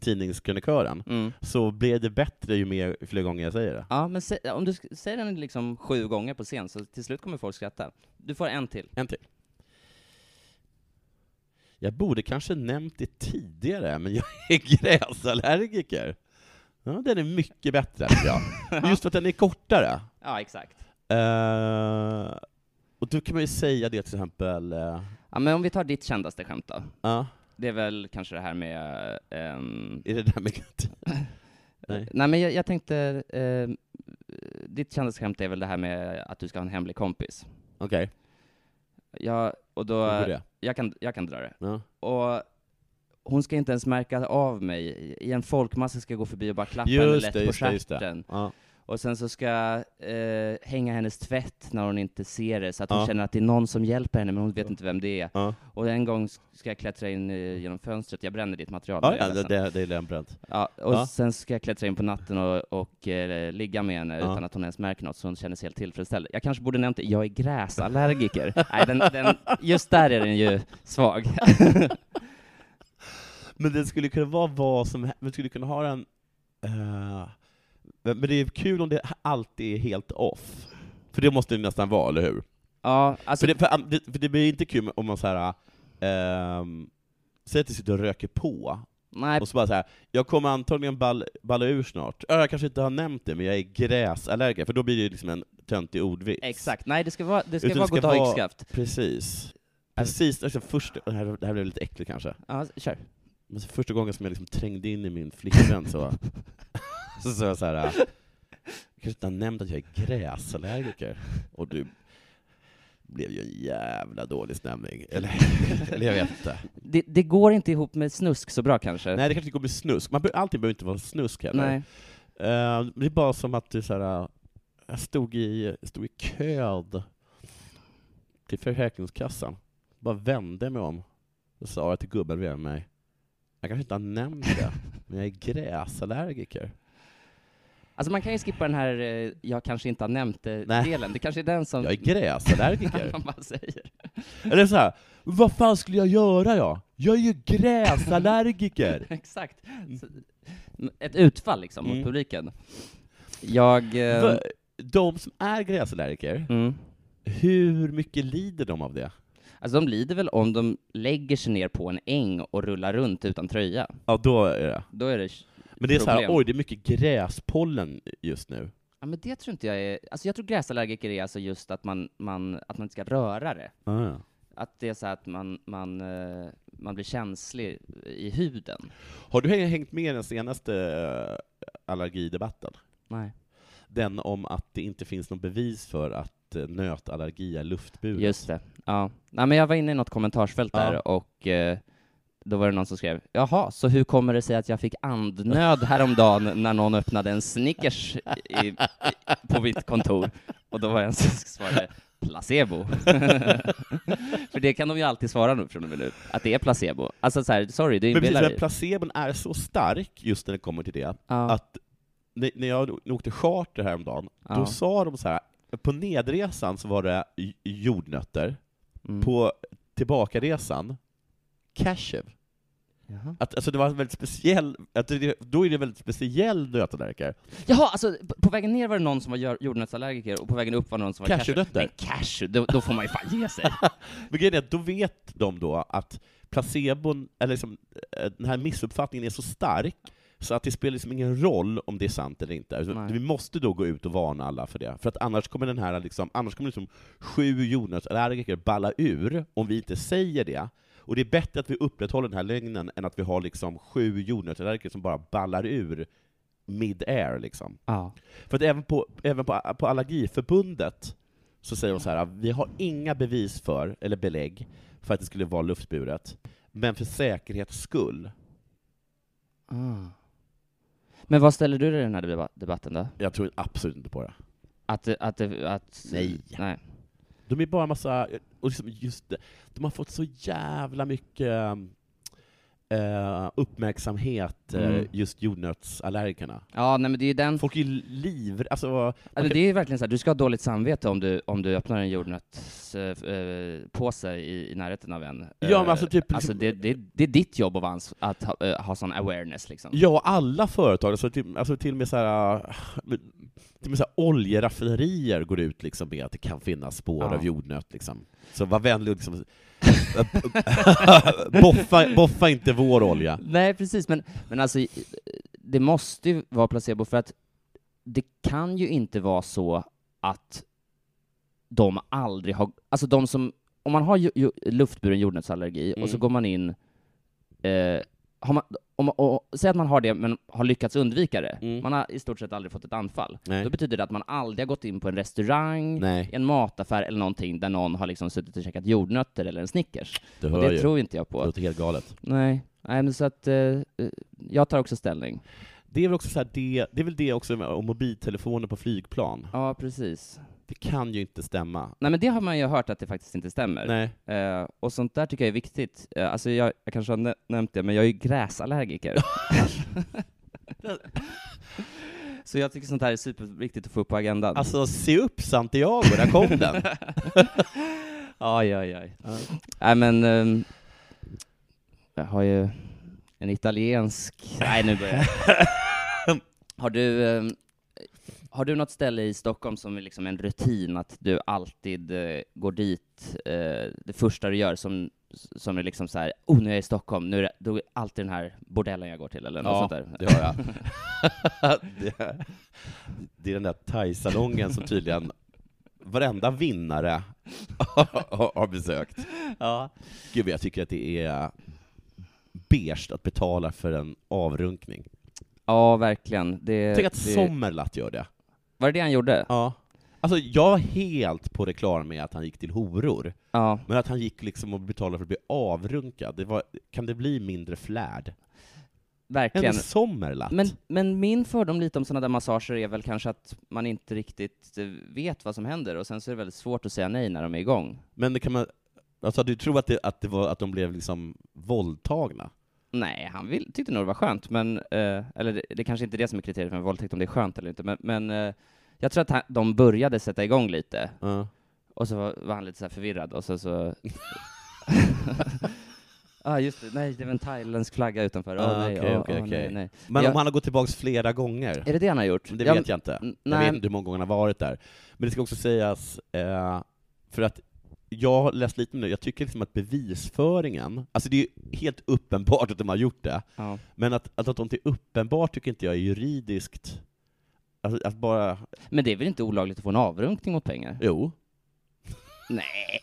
B: tidningskrönikören,
A: Mm.
B: så blev det bättre ju mer fler gånger jag säger det.
A: Ja, men sä, om du sk- säger den liksom sju gånger på scen, så till slut kommer folk skratta. Du får en till.
B: En till. Jag borde kanske nämnt det tidigare, men jag är gräsallergiker. Ja, den är mycket bättre, tycker jag. Just för att den är kortare.
A: Ja, exakt.
B: Eh, och då kan man ju säga det till exempel... eh,
A: Ja, men om vi tar ditt kändaste skämt då.
B: Ja,
A: Det är väl kanske det här med... ehm,
B: är det där med katt? Nej.
A: Eh, Nej. men jag, jag tänkte... ehm, ditt kändaste skämt är väl det här med att du ska ha en hemlig kompis.
B: Okej,
A: Jag, och
B: då
A: då,
B: går det.
A: jag, kan, jag kan dra det.
B: Ja.
A: Och hon ska inte ens märka av mig. I en folkmassa ska jag gå förbi och bara klappa henne
B: Just
A: lätt
B: det,
A: på
B: just det, just det.
A: stjärten.
B: Ja.
A: Och sen så ska jag eh, hänga hennes tvätt när hon inte ser det, så att hon
B: Ja.
A: känner att det är någon som hjälper henne, men hon vet inte vem det är.
B: Ja.
A: Och en gång ska jag klättra in eh, genom fönstret, jag bränner ditt material.
B: Ja,
A: jag är
B: ja, det,
A: ledsen.
B: det, det är redan bränt.
A: Ja, och
B: Ja.
A: sen ska jag klättra in på natten och, och eh, ligga med henne
B: Ja.
A: utan att hon ens märker något, så hon känner sig helt tillfredsställd. Jag kanske borde nämnt det, jag är gräsallergiker. Nej, den, den, just där är den ju svag.
B: Men det skulle kunna vara vad som helst, man skulle kunna ha en... eh, men det är kul om det alltid är helt off. För det måste det nästan vara, eller hur?
A: Ja, alltså,
B: För det, för, an- det, för det blir inte kul om man så här. ehm, säg att du sitter och röker på,
A: nej,
B: och så bara så här. jag kommer antagligen ball, balla ur snart. Ja, Jag kanske inte har nämnt det, men jag är gräsallergiker, för då blir det ju liksom en töntig ordvits.
A: exakt. Nej, det ska vara, det ska
B: Utan
A: vara
B: det ska
A: god dag
B: vara-
A: yxskaft.
B: Precis. Precis, alltså först, det här, det här blev lite äckligt kanske.
A: Ja, kör.
B: Men så första gången som jag liksom trängde in i min flickvän så så sa jag så här. äh, Jag kanske inte har nämnt att jag är gräsallergiker. Och du blev ju en jävla dålig stämning. Eller, eller jag vet inte.
A: Det, det går inte ihop med snusk så bra kanske.
B: Nej, det kanske inte kommer bli snusk. Man, be- allting behöver inte vara snusk heller.
A: Nej.
B: Eh, det är bara som att du så här, äh, jag stod i, stod i köd till Försäkringskassan. Bara vände mig om och sa till gubben bredvid mig, jag kanske inte har nämnt det, men jag är gräsallergiker.
A: Alltså man kan ju skippa den här eh, ”jag kanske inte har nämnt
B: Nej.
A: det”-delen. Det kanske är den som
B: Jag är gräsallergiker.
A: man bara säger.
B: Eller så här, vad fan skulle jag göra jag? Jag är ju gräsallergiker!
A: Exakt. Så, ett utfall liksom mot
B: Mm.
A: publiken. Jag... eh,
B: Va- De som är gräsallergiker,
A: mm.
B: hur mycket lider de av det?
A: Alltså de lider väl om de lägger sig ner på en äng och rullar runt utan tröja.
B: Ja, då är det.
A: Då är det...
B: Men det är så här,
A: Problem.
B: oj, det är mycket gräspollen just nu.
A: Ja men det tror inte jag är... Alltså jag tror gräsallergiker är alltså just att man, man, att man inte ska röra det. Att det är så här att man, man, eh, man blir känslig i huden.
B: Har du häng- hängt med i den senaste eh, allergidebatten?
A: Nej.
B: Den om att det inte finns någon bevis för att eh, nötallergi är luftburet.
A: Just det. Ja. Nej, men jag var inne i något kommentarsfält där
B: Ja.
A: och eh, då var det någon som skrev ”Jaha, så hur kommer det sig att jag fick andnöd häromdagen när någon öppnade en Snickers i, i, på mitt kontor?” Och då var det en som svarade ”Placebo”. För det kan de ju alltid svara nu från och med nu, att det är placebo. Alltså så här, sorry, du
B: Men precis,
A: inbillar
B: men
A: dig.
B: placebon är så stark just när det kommer till det,
A: Ja.
B: att när när jag åkte charter häromdagen,
A: Ja.
B: då sa de så här, på nedresan så var det j- jordnötter,
A: Mm.
B: på tillbakaresan, cashew.
A: Jaha.
B: Att, alltså det var en väldigt speciell, att det, då är det en väldigt speciell nötallergiker.
A: Jaha, alltså p- på vägen ner var det någon som var jör- jordnötsallergiker och på vägen upp var det någon som var
B: Cashewnötter.
A: Men cashew, då, då får man ju fan ge sig.
B: Men grejen är att då vet de då att placebon, eller liksom, eh, den här missuppfattningen är så stark så att det spelar liksom ingen roll om det är sant eller inte. Alltså,
A: Nej.
B: vi måste då gå ut och varna alla för det, för att annars kommer den här liksom, annars kommer liksom sju jordnötsallergiker balla ur om vi inte säger det. Och Och det är bättre att vi upprätthåller den här lögnen än att vi har liksom sju jordnötstallergiker som bara ballar ur mid-air liksom.
A: Ja.
B: För att även på, även på, på Allergiförbundet så säger de så här, "Ah, vi har inga bevis för, eller belägg, för att det skulle vara luftburet, men för säkerhets skull.
A: Ah. Men vad ställer du dig i den här deba- debatten då?
B: Jag tror absolut inte på det.
A: Att, det- att, det- att
B: Nej.
A: nej.
B: De är bara massa, och liksom just det, de har fått så jävla mycket eh, uppmärksamhet, eh,
A: Mm.
B: just jordnötsallergikerna.
A: Ja, nej men det är ju den...
B: Folk är ju liv, alltså,
A: Alltså, Det är ju verkligen så här, du ska ha dåligt samvete om du, om du öppnar en eh, jordnötspåse i, i närheten av en.
B: Ja,
A: Eh,
B: men alltså typ-
A: Alltså det, det, det är ditt jobb att, vara en, s- att ha, eh, ha sån awareness liksom.
B: Ja, alla företag, alltså till, alltså till och med så här, äh, till och med så här oljeraffinerier går ut liksom med att det kan finnas spår
A: Ja.
B: av jordnöt. Liksom. Så var vänlig och liksom, boffa, boffa inte vår olja.
A: Nej, precis, men, men alltså, det måste ju vara placebo för att det kan ju inte vara så att de aldrig har, alltså de som, om man har ju, ju, luftburen jordnötsallergi och så
B: Mm.
A: går man in, eh, har man, om, och, och, säg att man har det men har lyckats undvika det,
B: Mm.
A: man har i stort sett aldrig fått ett anfall,
B: Nej.
A: då betyder det att man aldrig har gått in på en restaurang,
B: Nej,
A: typ en mataffär eller någonting där någon har liksom suttit och käkat jordnötter eller en Snickers.
B: du
A: Och
B: hör
A: det
B: ju.
A: tror inte jag
B: Det
A: på.
B: låter helt galet.
A: Nej, nej men så att eh, eh, jag tar också ställning.
B: Det är väl också så här, det, det är väl det också med om mobiltelefoner på flygplan.
A: Ja, precis.
B: Det kan ju inte stämma.
A: Nej men det har man ju hört att det faktiskt inte stämmer.
B: Nej.
A: Eh, och sånt där tycker jag är viktigt. Eh, alltså jag, jag kanske har nä- nämnt det, men jag är ju gräsallergiker. så jag tycker sånt här är superviktigt att få upp på agendan.
B: Alltså, se upp Santiago, där kom den!
A: Aj, aj, aj. Nej men, ehm, jag har ju en italiensk... Nej nu börjar jag. Har du, ehm, har du något ställe i Stockholm som är liksom en rutin, att du alltid eh, går dit, eh, det första du gör som, som är liksom så här, oh nu är jag i Stockholm, nu är det, då är det alltid den här bordellen jag går till eller något
B: Ja,
A: sånt där?
B: det har jag. det, det är den där thaisalongen som tydligen varenda vinnare har har besökt.
A: Ja.
B: Gud, vad jag tycker att det är beige att betala för en avrunkning.
A: ja, verkligen. Eh, Det,
B: Tänk att
A: det,
B: Sommerlath gör det.
A: Var det det han gjorde?
B: Ja. Alltså, jag var helt på det klara med att han gick till horor,
A: Ja.
B: men att han gick liksom och betalade för att bli avrunkad, det var, kan det bli mindre flärd?
A: verkligen.
B: En Sommerlath?
A: Men, men min fördom lite om sådana där massager är väl kanske att man inte riktigt eh, vet vad som händer och sen så är det väldigt svårt att säga nej när de är igång.
B: Men det kan man... Alltså, du tror att, det, att, det var, att de blev liksom våldtagna?
A: Nej, han vill, tyckte nog det var skönt, men, eh, eller det, det kanske inte är det som är kriteriet för en våldtäkt, om det är skönt eller inte, men, men eh, jag tror att han, de började sätta igång lite,
B: Ja.
A: och så var, var han lite så här förvirrad, och så... så ah, just det, nej, det var en thailändsk flagga utanför. Åh,
B: Ah,
A: nej,
B: okej,
A: åh,
B: okej,
A: åh, nej,
B: okej.
A: nej.
B: Men
A: Ja.
B: om han har gått tillbaka flera gånger?
A: Är det det han har gjort?
B: Det
A: Ja,
B: vet jag inte.
A: men-
B: Jag vet
A: Nej,
B: inte hur många gånger han har varit där. Men det ska också sägas, eh, för att jag har läst lite om det, jag tycker liksom att bevisföringen, alltså det är ju helt uppenbart att de har gjort det,
A: ja.
B: men att, alltså, att, att de till uppenbart tycker inte jag är juridiskt, alltså, att bara,
A: Men det är väl inte olagligt att få en avrunkning mot pengar?
B: jo,
A: Nej.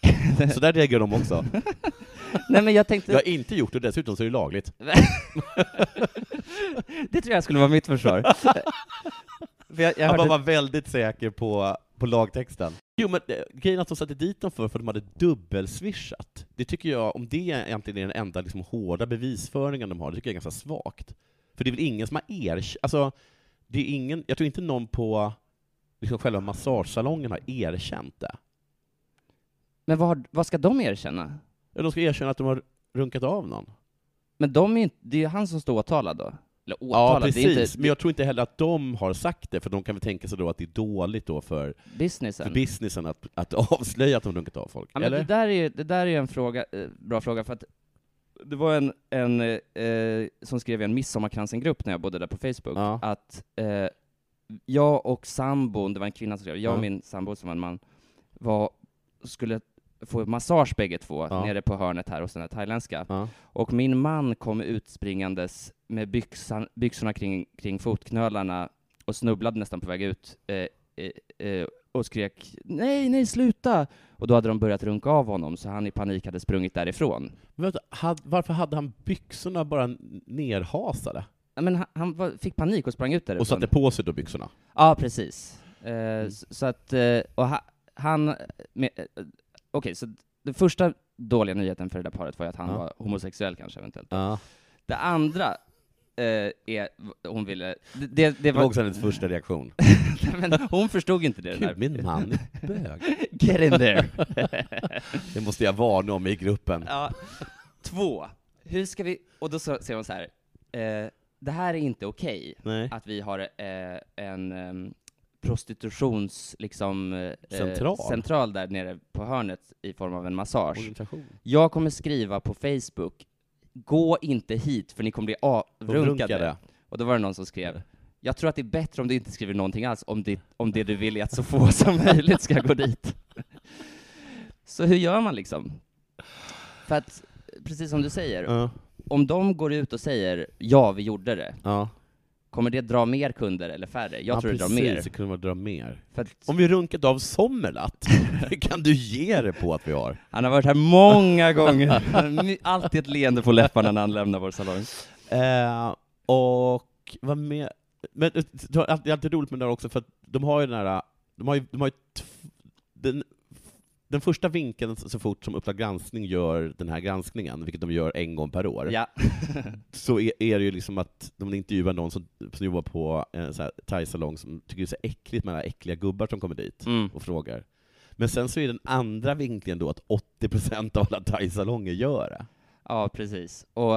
B: så där reagerar de också.
A: Nej men jag tänkte,
B: Jag har inte gjort det, och dessutom så är det lagligt.
A: det tror jag skulle vara mitt försvar. För jag, jag
B: Jag bara
A: hörde,
B: var väldigt säker på, på lagtexten. Jo men eh, grejen att de satte dit dem för, för att de hade dubbelswishat. Det tycker jag, om det egentligen är den enda liksom, hårda bevisföringen de har, det tycker jag är ganska svagt. För det är väl ingen som har erkänt, alltså, det är ingen, jag tror inte någon på liksom, själva massagesalongen har erkänt det.
A: men vad, har- vad ska de erkänna?
B: Eller de ska erkänna att de har runkat av någon.
A: Men de är ju inte, det är ju han som står åtalad då. Eller
B: Ja,
A: åtalad,
B: precis.
A: det är inte
B: Men jag tror inte heller att de har sagt det, för de kan väl tänka sig då att det är dåligt då för, för
A: businessen.
B: businessen att, att avslöja att de runkat av folk.
A: Ja, men
B: eller?
A: det där är ju- det där är ju en fråga, eh, bra fråga, för att det var en, en eh, eh, som skrev i en midsommarkransen-grupp när jag bodde där på Facebook,
B: Ja.
A: att eh, jag och sambon, det var en kvinna som skrev, jag och
B: Ja.
A: min sambo som var en man, var, skulle få massage bägge två
B: Ja.
A: nere på hörnet här hos den här thailändska.
B: Ja.
A: Och min man kom utspringandes med byxan, byxorna kring, kring fotknölarna och snubblade nästan på väg ut eh, eh, eh, och skrek nej, nej, sluta! Och då hade de börjat runka av honom, så han i panik hade sprungit därifrån.
B: Men vänta, had, varför hade han byxorna bara n- nerhasade?
A: Ja, Men han, han var, fick panik och sprang ut därifrån.
B: Och satte på Mm. sig då byxorna?
A: Ja, precis. Eh, s- Så att, eh, och ha, han, med- eh, okej, så den första dåliga nyheten för det där paret var ju att han
B: Ja.
A: var homosexuell kanske eventuellt.
B: Ja.
A: Det andra eh, är, hon ville, det, det, det
B: Det var
A: var,
B: också hennes första reaktion.
A: men hon förstod inte det
B: Gud,
A: där.
B: min man är bög.
A: Get in there.
B: Det måste jag varna om i gruppen.
A: ja. Två, hur ska vi, och då så- säger hon så här, eh, det här är inte okej.
B: Nej.
A: att vi har eh, en eh, prostitutions liksom, eh,
B: Central.
A: central där nere på hörnet i form av en massage.
B: Organisation.
A: Jag kommer skriva på Facebook, gå inte hit för ni kommer bli avrunkade.
B: Runkade.
A: Och då var det någon som skrev, jag tror att det är bättre om du inte skriver någonting alls om det, om det du vill är att så få som möjligt ska gå dit. Så hur gör man liksom? För att, precis som du säger,
B: Ja.
A: om de går ut och säger ja, vi gjorde det,
B: Ja.
A: Kommer det dra mer kunder eller färre? Jag
B: ja,
A: tror det drar
B: precis,
A: mer.
B: Det kunde man dra mer.
A: För att
B: Om vi runkat av Sommerlatt, det kan du ge det på att vi har.
A: han har varit här många gånger. My- Alltid ett leende på läpparna när han lämnar vår salong.
B: Eh, och vad mer? Men eh, det är alltid- det är alltid roligt med det där också, för att de har ju den här, de har ju, de har ju tf- den, den första vinkeln så så fort som Uppdrag granskning gör den här granskningen, vilket de gör en gång per år,
A: Ja.
B: så är, är det ju liksom att de intervjuar någon som, som jobbar på en sån här thaisalong som tycker det är så äckligt med alla äckliga gubbar som kommer dit
A: Mm.
B: och frågar. Men sen så är den andra vinkeln då att 80% av alla thaisalonger gör det.
A: ja, precis. Och,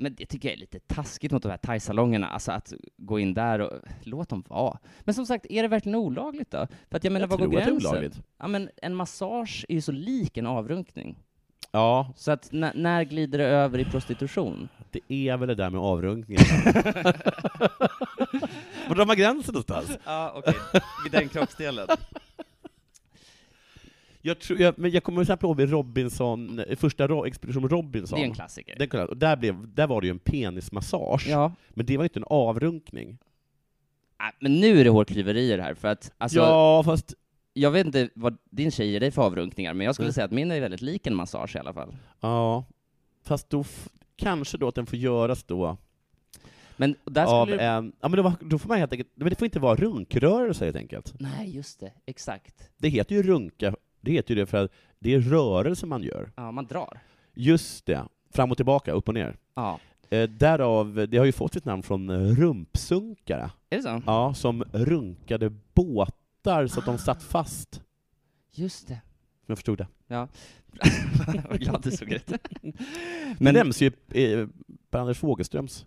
A: men det tycker jag är lite taskigt mot de här thaisalongerna, alltså att gå in där och låt dem vara. Men som sagt, är det verkligen olagligt då? För att jag menar,
B: Jag
A: var går
B: tror att det är
A: gränsen?
B: olagligt.
A: Ja, men en massage är ju så lik en avrunkning.
B: Ja,
A: Så att när, när glider det över i prostitution?
B: Det är väl det där med avrunkningen. Var drar man gränsen någonstans?
A: Ja, okej. Vid den kroppsdelen.
B: Jag, tror, jag, men jag kommer till exempel ihåg vid Robinson, första Ro- Expedition
A: Det
B: Robinson.
A: är en klassiker.
B: Den kollade jag. och där, blev, där var det ju en penismassage,
A: Ja.
B: men det var ju inte en avrunkning.
A: Nej, Men nu är det hårklyverier här, för att alltså,
B: ja, fast...
A: jag vet inte vad din tjej ger dig för avrunkningar, men jag skulle
B: Mm.
A: säga att min är väldigt lik en massage i alla fall.
B: Ja, fast då... f- Kanske då att den får göras då
A: Men där
B: av
A: skulle du...
B: en... Ja, men då, var- då får man helt enkelt... Men det får inte vara runkrörelse helt enkelt.
A: Nej, just det. Exakt.
B: Det heter ju runka, det heter ju det för att det är rörelse man gör.
A: Ja, man drar.
B: Just det, fram och tillbaka, upp och ner.
A: Ja.
B: Eh, därav, det har ju fått sitt namn från eh, rumpsunkare,
A: Är det så?
B: ja, som runkade båtar så att de satt fast. Om
A: Just det.
B: Jag förstod det.
A: Vad glad du såg rätt.
B: Men
A: Men-
B: det nämns ju eh, Per-Anders Fogelströms.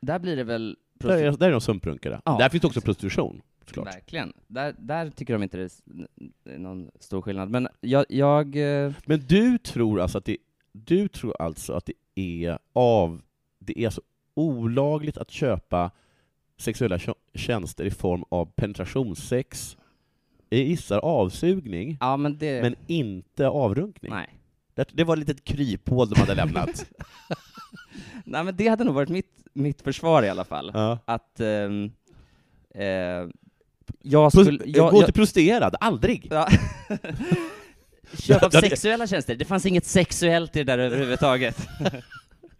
A: Där blir det väl...
B: Där
A: prostitu-
B: är, där är de sumprunkare.
A: Ja.
B: Där finns också prostitution, såklart.
A: Verkligen. Där, där tycker de inte det är s- n- någon stor skillnad. Men jag... jag eh,
B: Men du tror alltså att det, du tror alltså att det är av, det är alltså olagligt att köpa sexuella tjo- tjänster i form av penetrationssex, jag gissar avsugning,
A: ja, men det...
B: men inte avrunkning.
A: nej.
B: Det, det var ett litet kryphål de hade lämnat.
A: nej, men det hade nog varit mitt, mitt försvar i alla fall.
B: ja.
A: att ehm, eh, jag
B: Pros-
A: skulle... Jag,
B: Gå
A: jag,
B: till prostituerad, aldrig!
A: ja. Köp av sexuella tjänster, det fanns inget sexuellt i det där överhuvudtaget.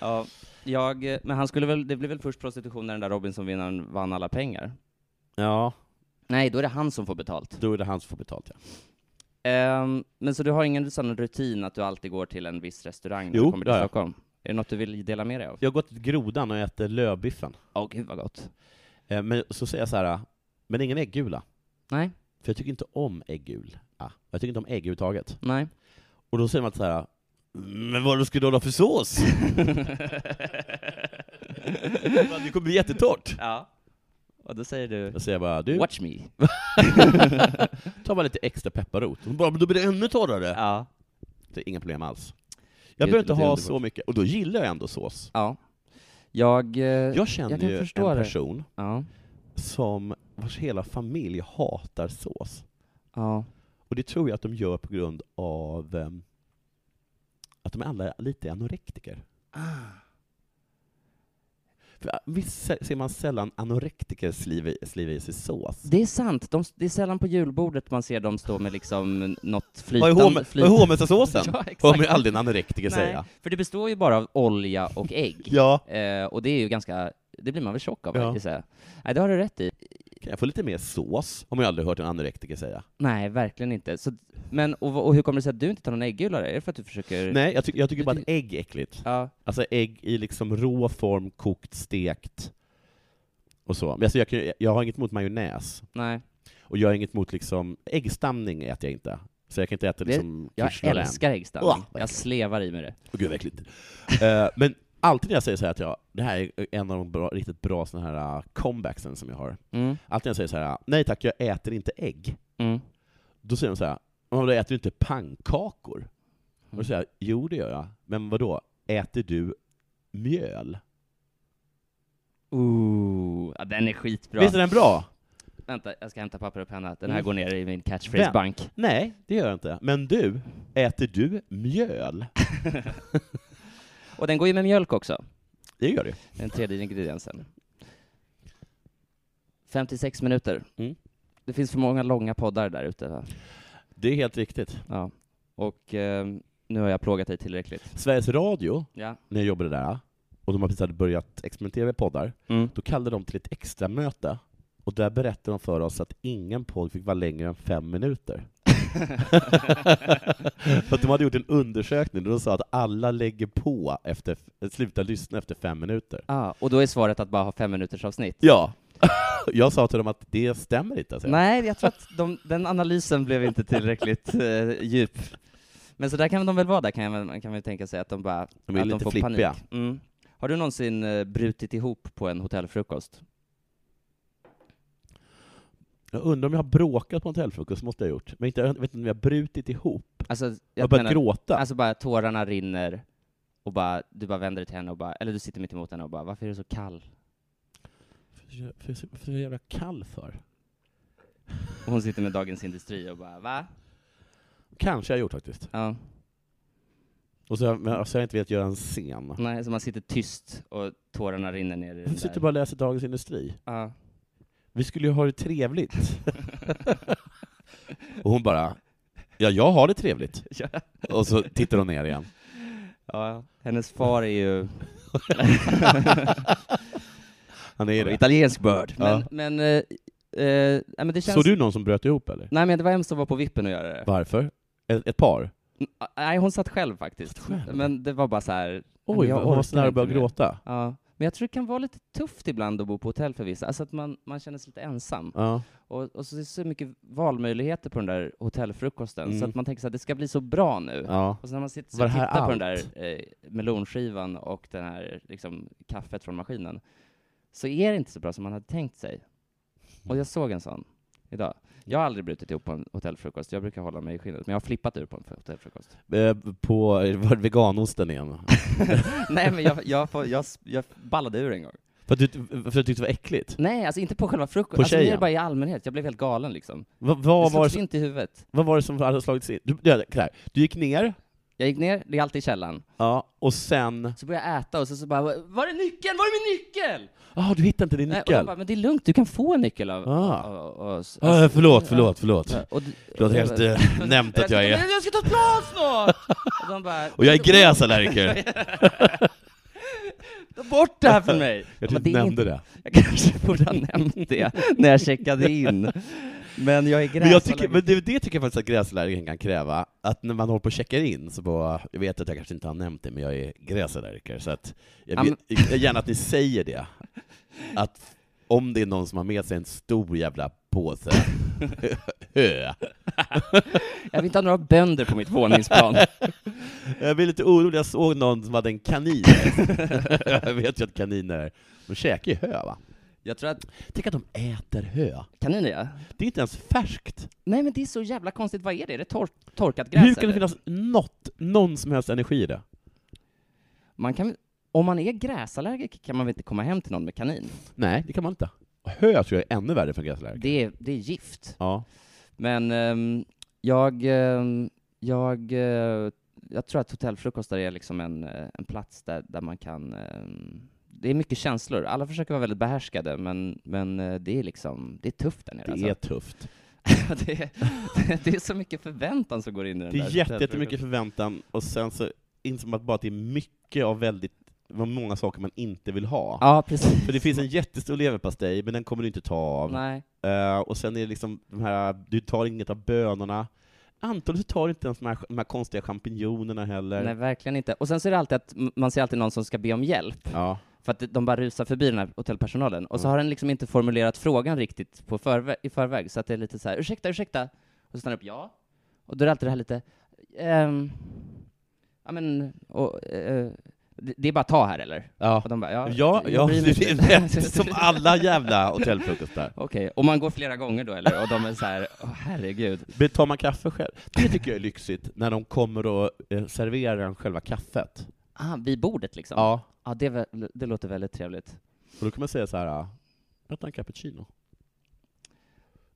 A: ja, jag, eh, men han skulle väl, det blev väl först prostitution när den där Robinson-vinnaren vann alla pengar?
B: Ja,
A: Nej, då är det han som får betalt.
B: då är det han som får betalt ja.
A: Ehm, men så du har ingen sån rutin att du alltid går till en viss restaurang när
B: Jo,
A: du kommer
B: det
A: till
B: har jag.
A: Stockholm? Är det något du vill dela med dig av?
B: Jag har gått till grodan och ätit lövbiffen.
A: Åh gud vad gott.
B: Eh, Men så säger jag så här, men ingen äggula.
A: Nej,
B: För jag tycker inte om äggula. Jag tycker inte om ägg överhuvudtaget.
A: nej.
B: Och då säger man så här, men vad ska du ha för sås? det kommer bli jättetort.
A: ja. Och då säger du...
B: Då säger jag bara, du,
A: Watch me.
B: ta bara lite extra pepparrot. Och bara, men då blir det ännu torrare.
A: Ja.
B: Det är inga problem alls.
A: Det
B: Jag behöver inte
A: låter
B: ha
A: underbart.
B: så mycket, och då gillar jag ändå sås.
A: ja. Jag... eh,
B: Jag känner
A: Jag kan
B: ju
A: förstå
B: en
A: det.
B: person
A: Ja.
B: som vars hela familj hatar sås.
A: Ja.
B: Och det tror jag att de gör på grund av ehm,
A: Ah.
B: att de alla är lite anorektiker. För ah, visst se- ser man sällan anorektiker sliva i- sliva i sig sås?
A: Det är sant, de, det är sällan på julbordet man ser dem stå med liksom något
B: Vad
A: flytande...
B: är home- vad är hummersåsen?
A: Ja,
B: Hör
A: exakt.
B: man ju aldrig en anorektiker säga.
A: Nej, för det består ju bara av olja och ägg.
B: Ja.
A: Eh, och det är ju ganska, det blir man väl tjock av,
B: Ja.
A: ja. jag säga. Nej, det har du rätt i.
B: Kan jag få lite mer sås? Har man ju aldrig hört en anorektiker säga.
A: Nej, verkligen inte. Så, men, och, vad- och hur kommer det sig att du inte tar någon äggula? Är det för att du försöker...
B: Nej, jag, ty- jag tycker
A: Mm. Det-
B: bara att ägg är äckligt.
A: Ja,
B: Alltså ägg i liksom rå form, kokt, stekt och så. Men alltså jag, kan, ju- jag har inget emot majonnäs,
A: nej.
B: och jag har inget emot liksom, äggstamning äter jag inte. Så jag kan inte äta
A: Det-
B: liksom
A: Jag
B: kirsch och län.
A: älskar äggstanning.
B: Åh, vad
A: jag
B: äckligt.
A: slevar i mig det.
B: Åh, gud vad äckligt. Eh, men alltid när jag säger så här att jag, det här är en av de bra, riktigt bra såna här eh, comebacksen som jag har.
A: Mm.
B: Alltid när jag säger så här, eh, nej tack, jag äter inte ägg.
A: Mm.
B: Då säger de så här, men då äter du inte pannkakor? Och
A: Mm.
B: då säger jag, jo det gör jag, men vad då? äter du mjöl?
A: Ooh, ja, den är skitbra.
B: Visst är den bra?
A: Vänta, jag ska hämta papper och penna. Den här
B: Mm.
A: går ner i min catchphrase-bank.
B: Nej, det gör jag inte. Men du, äter du mjöl?
A: Och den går ju med mjölk också,
B: Det gör du.
A: den tredje ingrediensen. 56 minuter.
B: Mm.
A: Det finns för många långa poddar där ute. va?
B: Det är helt riktigt.
A: Ja. Och eh, nu har jag plågat dig tillräckligt.
B: Sveriges Radio,
A: Ja.
B: när jag jobbade där, och de har precis hade börjat experimentera med poddar,
A: Mm.
B: då kallade de till ett extra möte och där berättade de för oss att ingen podd fick vara längre än fem minuter. för att de hade gjort en undersökning där de sa att alla lägger på efter, slutar lyssna efter fem minuter.
A: Ah, och då är svaret att bara ha fem minuters avsnitt.
B: Ja. Jag sa till dem att det stämmer inte. Alltså.
A: Nej, jag tror att de, den analysen blev inte tillräckligt eh, djup. Men så där kan de väl vara där, kan jag väl- kan man tänka sig, att de bara
B: De är
A: att
B: lite
A: de får
B: flippiga.
A: panik. Mm. Har du någonsin eh, brutit ihop på en hotellfrukost?
B: Jag undrar om jag har bråkat på en hotellfrukost, måste jag ha gjort. Men inte, jag vet inte om jag har brutit ihop.
A: Alltså, jag
B: Jag har börjat
A: menar-
B: gråta.
A: Alltså bara tårarna rinner, och bara, du bara vänder dig till henne och bara, eller du sitter mitt emot henne och bara, varför är du så kall?
B: För- för- för- för jag jävla kall för?
A: Och hon sitter med Dagens Industri och bara, va?
B: Kanske jag har gjort faktiskt.
A: Ja.
B: Och så, har jag- men, så har jag inte velat göra en scen.
A: Nej, så man sitter tyst och tårarna rinner ner i den
B: Jag sitter
A: där.
B: bara och läser Dagens Industri.
A: Ja.
B: Vi skulle ju ha det trevligt. och hon bara, ja jag har det trevligt.
A: Ja.
B: Och så tittar hon ner igen.
A: ja, hennes far är ju
B: Han är det.
A: italiensk börd. Men,
B: Ja.
A: men, eh, eh, nej, men det känns...
B: Såg du någon som bröt ihop eller?
A: Nej men det var en som var på vippen att göra det.
B: Varför? Ett, ett par?
A: N- Nej, hon satt själv faktiskt.
B: Satt själv?
A: Men det var bara så här... men
B: Oj,
A: jag
B: hon var
A: orkar
B: så nära att
A: inte
B: börja
A: mer.
B: gråta.
A: Ja. Men jag tror det kan vara lite tufft ibland att bo på hotell för vissa, alltså att man, man känner sig lite ensam.
B: Ja.
A: Och, och så är det så mycket valmöjligheter på den där hotellfrukosten, så
B: Mm.
A: att man tänker så här, det ska bli så bra nu.
B: ja.
A: Och så när man sitter
B: Var
A: så
B: det här
A: tittar på den
B: allt?
A: där eh, melonskivan och den här liksom, kaffet från maskinen, så är det inte så bra som man hade tänkt sig. Och jag såg en sån idag. Jag har aldrig brutit ihop på en hotellfrukost, jag brukar hålla mig i skinnet, men jag har flippat ur på en hotellfrukost.
B: Eh, På, var det veganosten igen?
A: Nej, men jag, jag, får- jag, s- jag ballade ur en gång.
B: För att du, för att du tyckte det var äckligt?
A: Nej, alltså inte på själva
B: På
A: frukosten, alltså, mer
B: tjejen?
A: bara i allmänhet. Jag blev helt galen liksom.
B: Va,
A: det
B: vad, var
A: slogs
B: det som,
A: inte i huvudet.
B: vad var det som hade slagits in? Du, du, så här, du gick ner,
A: Jag gick ner, det är alltid i källaren.
B: ja, och sen...
A: Så började jag äta och så, så bara, var är nyckeln? Var är min nyckel?
B: Ah, du hittade inte din
A: Nej, och de
B: nyckel?
A: bara, men det är lugnt, du kan få en nyckel av,
B: Ah.
A: av, av oss. Alltså,
B: Ah, förlåt, förlåt, förlåt.
A: Och,
B: Du har helt eh, nämnt att jag
A: ska,
B: är...
A: Jag ska ta ett plan snart! och de bara,
B: Och jag är gräsallergiker!
A: Ta bort det här från mig!
B: Jag
A: De bara,
B: typ
A: "Det är
B: nämnde
A: inte-
B: det.
A: Jag kanske borde ha nämnt det när jag checkade in. Men jag är
B: Men, jag tycker,
A: gräsallergiker.
B: men det, det tycker jag faktiskt att gräsallergiken kan kräva, att när man håller på och checkar in så bara, jag vet att jag kanske inte har nämnt det, men jag är gräsallergiker, så att jag vill
A: Am-
B: jag vill gärna att ni säger det. Att om det är någon som har med sig en stor jävla påse hö,
A: Jag vill inte ha några bönder på mitt våningsplan.
B: Jag blev lite orolig, jag såg någon som hade en kanin. jag vet ju att kaniner, de käkar ju hö va?
A: Jag tror att,
B: Tänk att de äter hö.
A: kaniner ja.
B: Det är inte ens färskt.
A: Nej men det är så jävla konstigt, vad är det? Är det tor- torkat gräs
B: Hur kan det
A: eller?
B: finnas något, någon som helst energi i det?
A: Man kan, om man är gräsallergiker kan man väl inte komma hem till någon med kanin?
B: Nej, det kan man inte. Och Hö tror jag är ännu värre för en gräslärare.
A: Det är, det är gift.
B: Ja.
A: Men ehm, jag, ehm, jag, eh, jag tror att hotellfrukostar är liksom en, eh, en plats där, där man kan ehm, det är mycket känslor. Alla försöker vara väldigt behärskade, men, men eh, det är liksom, det är tufft där nere.
B: Det är tufft.
A: alltså. det, är, det är så mycket förväntan som går in i den
B: Det
A: där.
B: är jätte, jättemycket förväntan, och sen så inser man bara att det är mycket av väldigt, vad många saker man inte vill ha.
A: Ja, precis.
B: För det finns en jättestor leverpastej, men den kommer du inte ta av.
A: Nej.
B: Eh, och sen är det liksom de här, du tar inget av bönorna. Antagligen så tar du inte ens de här, de här konstiga champinjonerna heller.
A: Nej, verkligen inte. Och sen så är det alltid att m- man ser alltid någon som ska be om hjälp,
B: Ja.
A: för att de bara rusar förbi den här hotellpersonalen. Och så
B: Mm.
A: har den liksom inte formulerat frågan riktigt på förvä- i förväg, så att det är lite så här, ursäkta, ursäkta, och så stannar upp ja. Och då är det alltid det här lite, ehm, ja men, och, eh, det, det är bara ta här eller?
B: Ja.
A: Och de bara, ja,
B: Ja,
A: jag
B: ja
A: bryr mig
B: det är
A: inte."
B: rätt som alla jävla hotellfrukostar.
A: Okej, och man går flera gånger då eller? Och de är så här, åh herregud.
B: Men Tar man kaffe själv? Det tycker jag är lyxigt, när de kommer och eh, serverar en själva kaffet.
A: Ah, vid bordet liksom?
B: Ja.
A: Ja, det, är väl- det låter väldigt trevligt.
B: Och då kan man säga så här, ah, jag tar en cappuccino.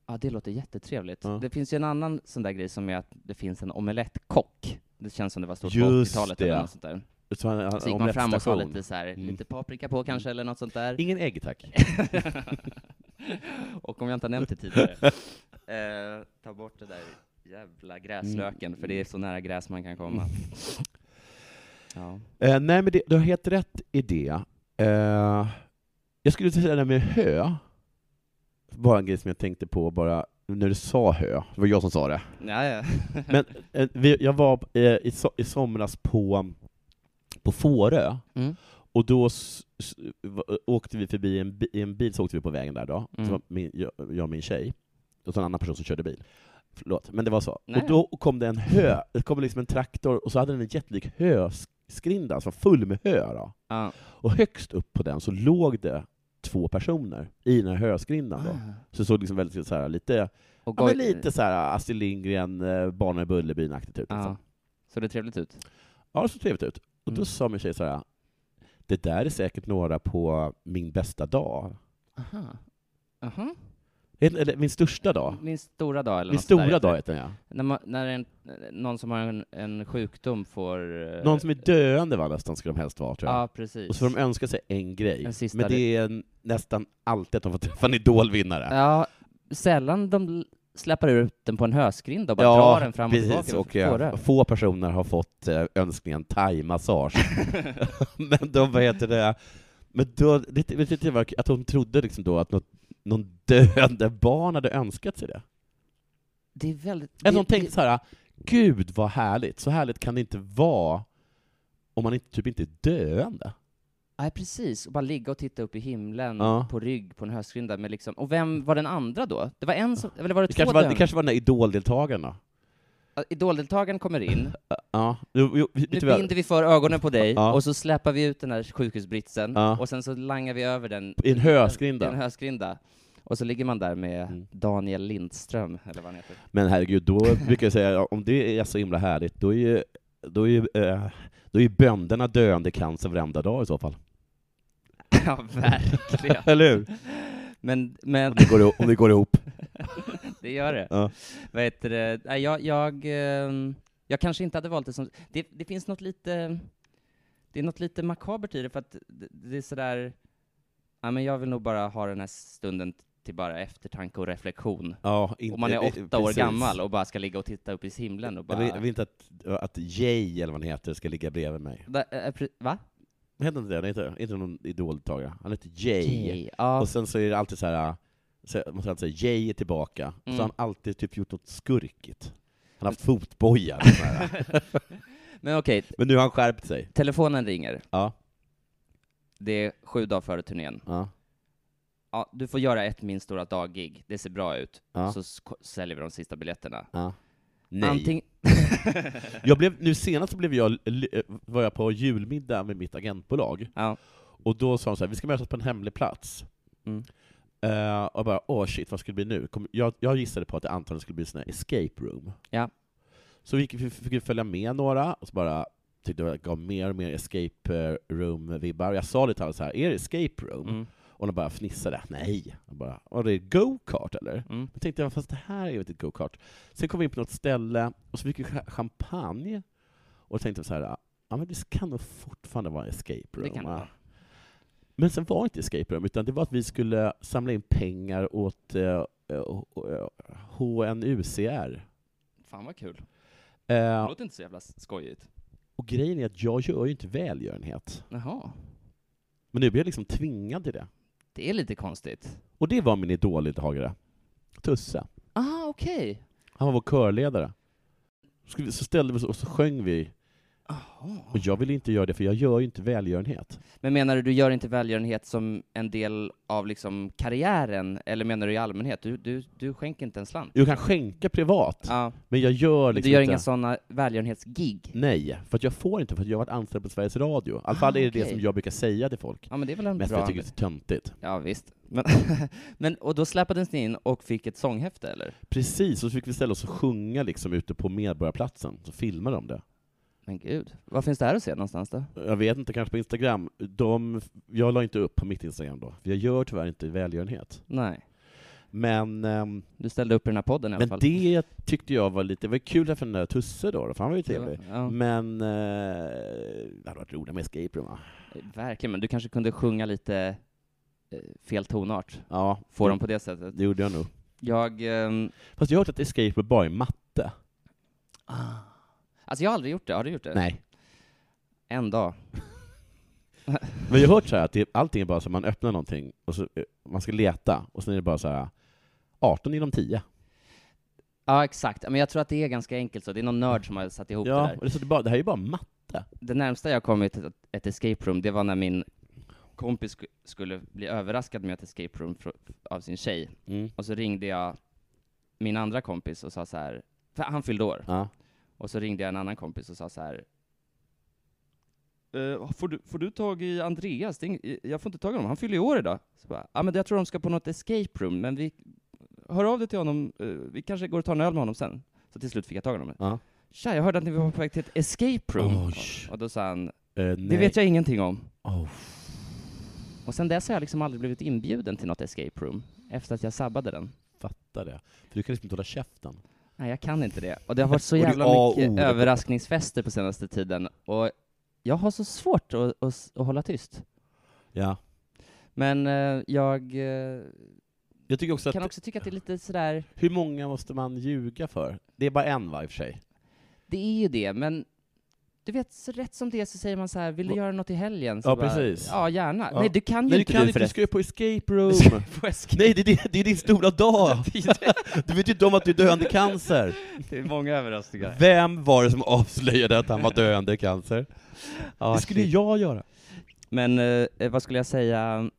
A: Ja, det låter jättetrevligt.
B: Ja.
A: Det finns ju en annan sån där grej som är att det finns en omelettkock. Det känns som det var stort på
B: Just
A: 80-talet
B: det.
A: eller något sånt där.
B: Så eh, han- han-
A: Så gick man fram och sa
B: omelettstation.
A: lite så här,
B: Mm.
A: lite paprika på kanske eller något sånt där.
B: Ingen ägg tack.
A: och om jag inte har nämnt det tidigare, eh, ta bort det där jävla gräslöken, för det är så nära gräs man kan komma. Ja.
B: Eh, nej, men det, du har helt rätt i det. Eh, jag skulle säga det här med hö, bara en grej som jag tänkte på bara när du sa hö, det var jag som sa det.
A: Ja, ja.
B: Men eh, vi, jag var eh, i, so- i somras på, på Fårö,
A: Mm.
B: och då s- s- va- åkte vi förbi en, bi- i en bil, så åkte vi på vägen där då,
A: Mm.
B: så var min, jag, jag och min tjej, och så en annan person som körde bil. Förlåt, men det var så.
A: Nej.
B: Och då kom det en hö, det kom liksom en traktor, och så hade den en jättelik höskrinda, som var full med hö. Då.
A: Ja.
B: Och högst upp på den så låg det två personer i den här höskrindan. Då. Så det såg liksom väldigt så här, lite,
A: Och
B: ja,
A: goj-
B: men lite så här Astrid Lindgren, eh, Barnen i Bullerbyn-aktigt ut.
A: Ja.
B: Liksom.
A: Så det är trevligt ut?
B: Ja, det såg trevligt ut. Och då
A: Mm.
B: sa min tjej så här, det där är säkert några på min bästa dag.
A: Aha. Aha.
B: Eller eller min största dag.
A: Min stora dag Mm. eller
B: Min
A: något sånt där
B: stora
A: heter
B: dag
A: det.
B: heter den ja.
A: När, man, när en, någon som har en, en sjukdom får... eh,
B: Någon som är döende var nästan, skulle de helst vara tror jag.
A: Ja, precis.
B: Och så får de önska sig en grej.
A: En sista
B: Men det är nästan alltid att de får träffa en idolvinnare.
A: Ja, sällan de l- släpper ut den på en höskrind och bara drar den fram och
B: precis.
A: tillbaka.
B: Och, eh,
A: Fårö.
B: få personer har fått eh, önskningen thai-massage. men de, vad heter det, men då, det, det, det var, att de trodde liksom då att något, någon döende barn hade önskat sig det.
A: Det är väldigt...
B: Eller
A: det-
B: de tänkte så här, gud vad härligt, så härligt kan det inte vara om man inte, typ inte är döende.
A: det- Nej, precis. Och bara ligga och titta upp i himlen
B: Ja.
A: på rygg på en höskrind där med liksom... Och vem var den andra då? Det var en som... Eller var det,
B: Det
A: två
B: kanske var, det
A: döende?
B: kanske var den där idoldeltagaren då.
A: Ja, Idoldeltagaren kommer in,
B: Ja, jo, jo,
A: Nu
B: vet du vad?
A: binder vi för ögonen på dig,
B: Ja.
A: och så släpar vi ut den här sjukhusbritsen,
B: Ja.
A: och sen så langar vi över den
B: I en höskrinda.
A: i en höskrinda. Och så ligger man där med
B: Mm.
A: Daniel Lindström, eller vad han heter.
B: Men herregud, då brukar jag säga, ja, om det är så himla härligt, då är ju, då är ju, eh, då är ju bönderna döende i cancer varenda dag i så fall.
A: ja, verkligen.
B: Eller hur?
A: Men, men
B: Om det går, ihop- om det går ihop.
A: det gör det.
B: Ja.
A: Vad heter det? Nej, jag, jag, ehm, jag kanske inte hade valt det som... Det, det finns något lite... Det är något lite makabert i det, för att det, det är sådär... Ja, men jag vill nog bara ha den här stunden till bara eftertanke och reflektion.
B: Ja, inte,
A: Och man är
B: eh,
A: åtta år
B: precis.
A: gammal och bara ska ligga och titta upp i himlen och
B: Jag
A: bara...
B: vill, jag vill inte att, att Jay, eller vad han heter, ska ligga bredvid mig.
A: Va? eh, pre- Va?
B: Vad heter inte det? Han heter inte någon idoldeltagare. Han heter Jay.
A: Yay. Ja,
B: Och sen så är det alltid så här, så måste han säga Jay är tillbaka. Och
A: Mm.
B: Så har han alltid typ gjort något skurkigt. Han har haft fotboja. och sån här.
A: men okej,
B: Men nu har han skärpt sig.
A: telefonen ringer.
B: Ja.
A: Det är sju dagar före turnén.
B: Ja.
A: Ja, du får göra ett Min stora dag-gig, det ser bra ut.
B: Ja.
A: Så s- ko- säljer vi de sista biljetterna.
B: Ja. Nej.
A: Anting-
B: Jag blev, nu senast så blev jag, eh, var jag på julmiddag med mitt agentbolag,
A: ja.
B: och då sa de så här, vi ska mötas på en hemlig plats.
A: Mm.
B: Eh, och jag bara, åh shit, vad skulle det bli nu? Kom, jag, jag gissade på att det antagligen skulle bli sån här escape room.
A: Ja.
B: Så vi fick, fick vi följa med några, och så bara tyckte jag att det gav mer och mer escape eh, room-vibbar. Och Jag sa det till alla så här, är det escape room?
A: Mm.
B: Och de bara fnissade, nej. Jag bara, var det go-kart eller?
A: Mm.
B: Då tänkte jag, fast det här är ju inte ett go-kart. Sen kom vi in på något ställe, och så fick vi cha- champagne, och tänkte så här, ja men det kan nog fortfarande vara en escape
A: Det
B: room.
A: kan det
B: va?"
A: vara.
B: Men sen var det inte escape room, utan det var att vi skulle samla in pengar åt eh, eh, eh, HNUCR.
A: Fan vad kul. Det
B: Eh,
A: låter inte så jävla skojigt.
B: och grejen är att jag gör ju inte välgörenhet.
A: Jaha.
B: Men nu blir jag liksom tvingad till det.
A: Det är lite konstigt.
B: Och det var min idoldeltagare, Tusse.
A: Ah, okej.
B: Han var vår körledare. Skulle vi- Så ställde vi oss och så sjöng vi. Och jag ville inte göra det, för jag gör ju inte välgörenhet.
A: Men menar du, du gör inte välgörenhet som en del av liksom karriären, eller menar du i allmänhet? Du, du, du skänker inte en slant?
B: Jag kan skänka privat,
A: Ja.
B: men jag gör
A: Men du
B: liksom
A: gör
B: inte... Mm.
A: inga sådana välgörenhetsgig?
B: Nej, för att jag får inte, för att jag har varit anställd på Sveriges Radio. I alla fall är det det
A: Ah, okej.
B: som jag brukar säga till folk.
A: Ja men det är väl en
B: Mest för
A: bra...
B: att jag tycker det är lite töntigt.
A: Ja visst. Men, men, och då släpades ni in och fick ett sånghäfte eller?
B: Precis, och så fick vi ställa oss och sjunga liksom ute på Medborgarplatsen, så filmade de det.
A: Men gud. Vad finns det här att se någonstans då?
B: Jag vet inte, kanske på Instagram. De, jag la inte upp på mitt Instagram då, för jag gör tyvärr inte välgörenhet.
A: Nej.
B: Men, ehm,
A: Du ställde upp i den här podden i alla
B: men
A: fall.
B: det tyckte jag var lite, det var kul därför den där Tusse då, då, för han var ju trevlig.
A: Ja,
B: Men, eh, det hade varit roligt med escape room va?
A: verkligen, men du kanske kunde sjunga lite eh, fel tonart?
B: Ja,
A: Får de på det sättet?
B: Mm, det gjorde jag nog.
A: Jag... ehm,
B: Fast jag har hört att escape room bara är matte.
A: Alltså jag har aldrig gjort det, har du gjort det?
B: Ah. Nej.
A: En dag.
B: Men jag har hört så här att det, allting är bara så att man öppnar någonting, och så, eh, man ska leta, och sen är det bara så här 18 inom 10.
A: Ja, exakt. Men jag tror att det är ganska enkelt så. Det är någon nörd som har satt ihop det
B: Ja,
A: där.
B: och det, är så att det, bara, det här är ju bara matte.
A: Det närmsta jag kommit ett, ett escape room, det var när min kompis sku- skulle bli överraskad med ett escape room fr- av sin tjej. Och så ringde jag min andra kompis och sa så här, för han fyllde år.
B: Ja.
A: Och så ringde jag en annan kompis och sa så här. "Eh, får, du, får du tag i Andreas? Det är ing- jag får inte tag i honom, han fyller ju år idag. Så bara, ah, men jag tror de ska på något escape room, men vi hör av dig till honom, eh, vi kanske går och tar en öl med honom sen. Så till slut fick jag tag i honom.
B: Ja.
A: Tja, jag hörde att ni var på väg till ett escape room.
B: Oj.
A: Och då sa han,
B: Eh,
A: det
B: nej.
A: vet jag ingenting om.
B: Oh.
A: Och sen dess har jag liksom aldrig blivit inbjuden till något escape room, efter att jag sabbade den.
B: Fattar det. För du kan liksom inte hålla käften.
A: Nej, jag kan inte det. Och det har varit så
B: Och det är A
A: jävla
B: och O
A: mycket
B: där på-
A: överraskningsfester på senaste tiden, och jag har så svårt att, att, att hålla tyst.
B: Ja.
A: Men eh, jag eh,
B: Jag tycker också att,
A: kan också tycka att det är lite sådär,
B: hur många måste man ljuga för? Det är bara en va, i och för
A: Mm.
B: sig.
A: det är ju det, men du vet, så rätt som det är så säger man så här, vill du
B: Va-
A: göra något i helgen? Så
B: Ja,
A: bara,
B: precis.
A: Ja, gärna.
B: Ja.
A: Nej, du kan ju
B: Nej, du
A: inte
B: kan
A: du
B: inte, du
A: förresten.
B: ska ju på escape room!
A: På escape.
B: Nej, det är, din- det är din stora dag! Du vet ju inte om att du är döende i cancer!
A: det är många överraskningar.
B: Vem var det som avslöjade att han var döende i cancer?
A: Ja,
B: det skulle ju jag göra.
A: Men eh, vad skulle jag säga,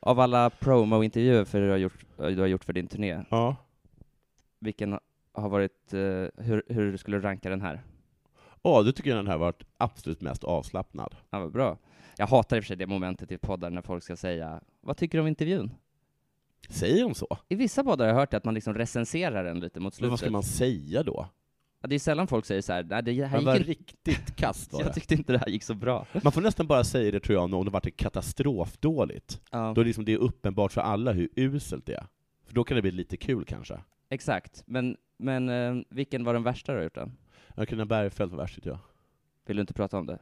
A: av alla promo-intervjuer för du, har gjort, eh, du har gjort för din turné,
B: Ja.
A: vilken har varit, eh, hur, hur skulle du ranka den här?
B: Ja, då tycker jag den här varit absolut mest avslappnad.
A: Ja, vad bra. Jag hatar i och för sig det momentet i poddar när folk ska säga, vad tycker du om intervjun?
B: Säger de så?
A: I vissa poddar har jag hört att man liksom recenserar den lite mot
B: Men
A: slutet.
B: vad ska man säga då?
A: Ja, det är sällan folk säger så här, nej det här
B: Han var
A: gick inte,
B: riktigt kast var
A: jag
B: det.
A: tyckte inte det här gick så bra.
B: Man får nästan bara säga det tror jag om det varit katastrofdåligt.
A: Ja,
B: Då är liksom det är uppenbart för alla hur uselt det är. För då kan det bli lite kul kanske.
A: exakt. Men, men eh, vilken var den värsta du har gjort då?
B: Jag kunde Bergfeldt var värst tycker jag.
A: Vill du inte prata om det?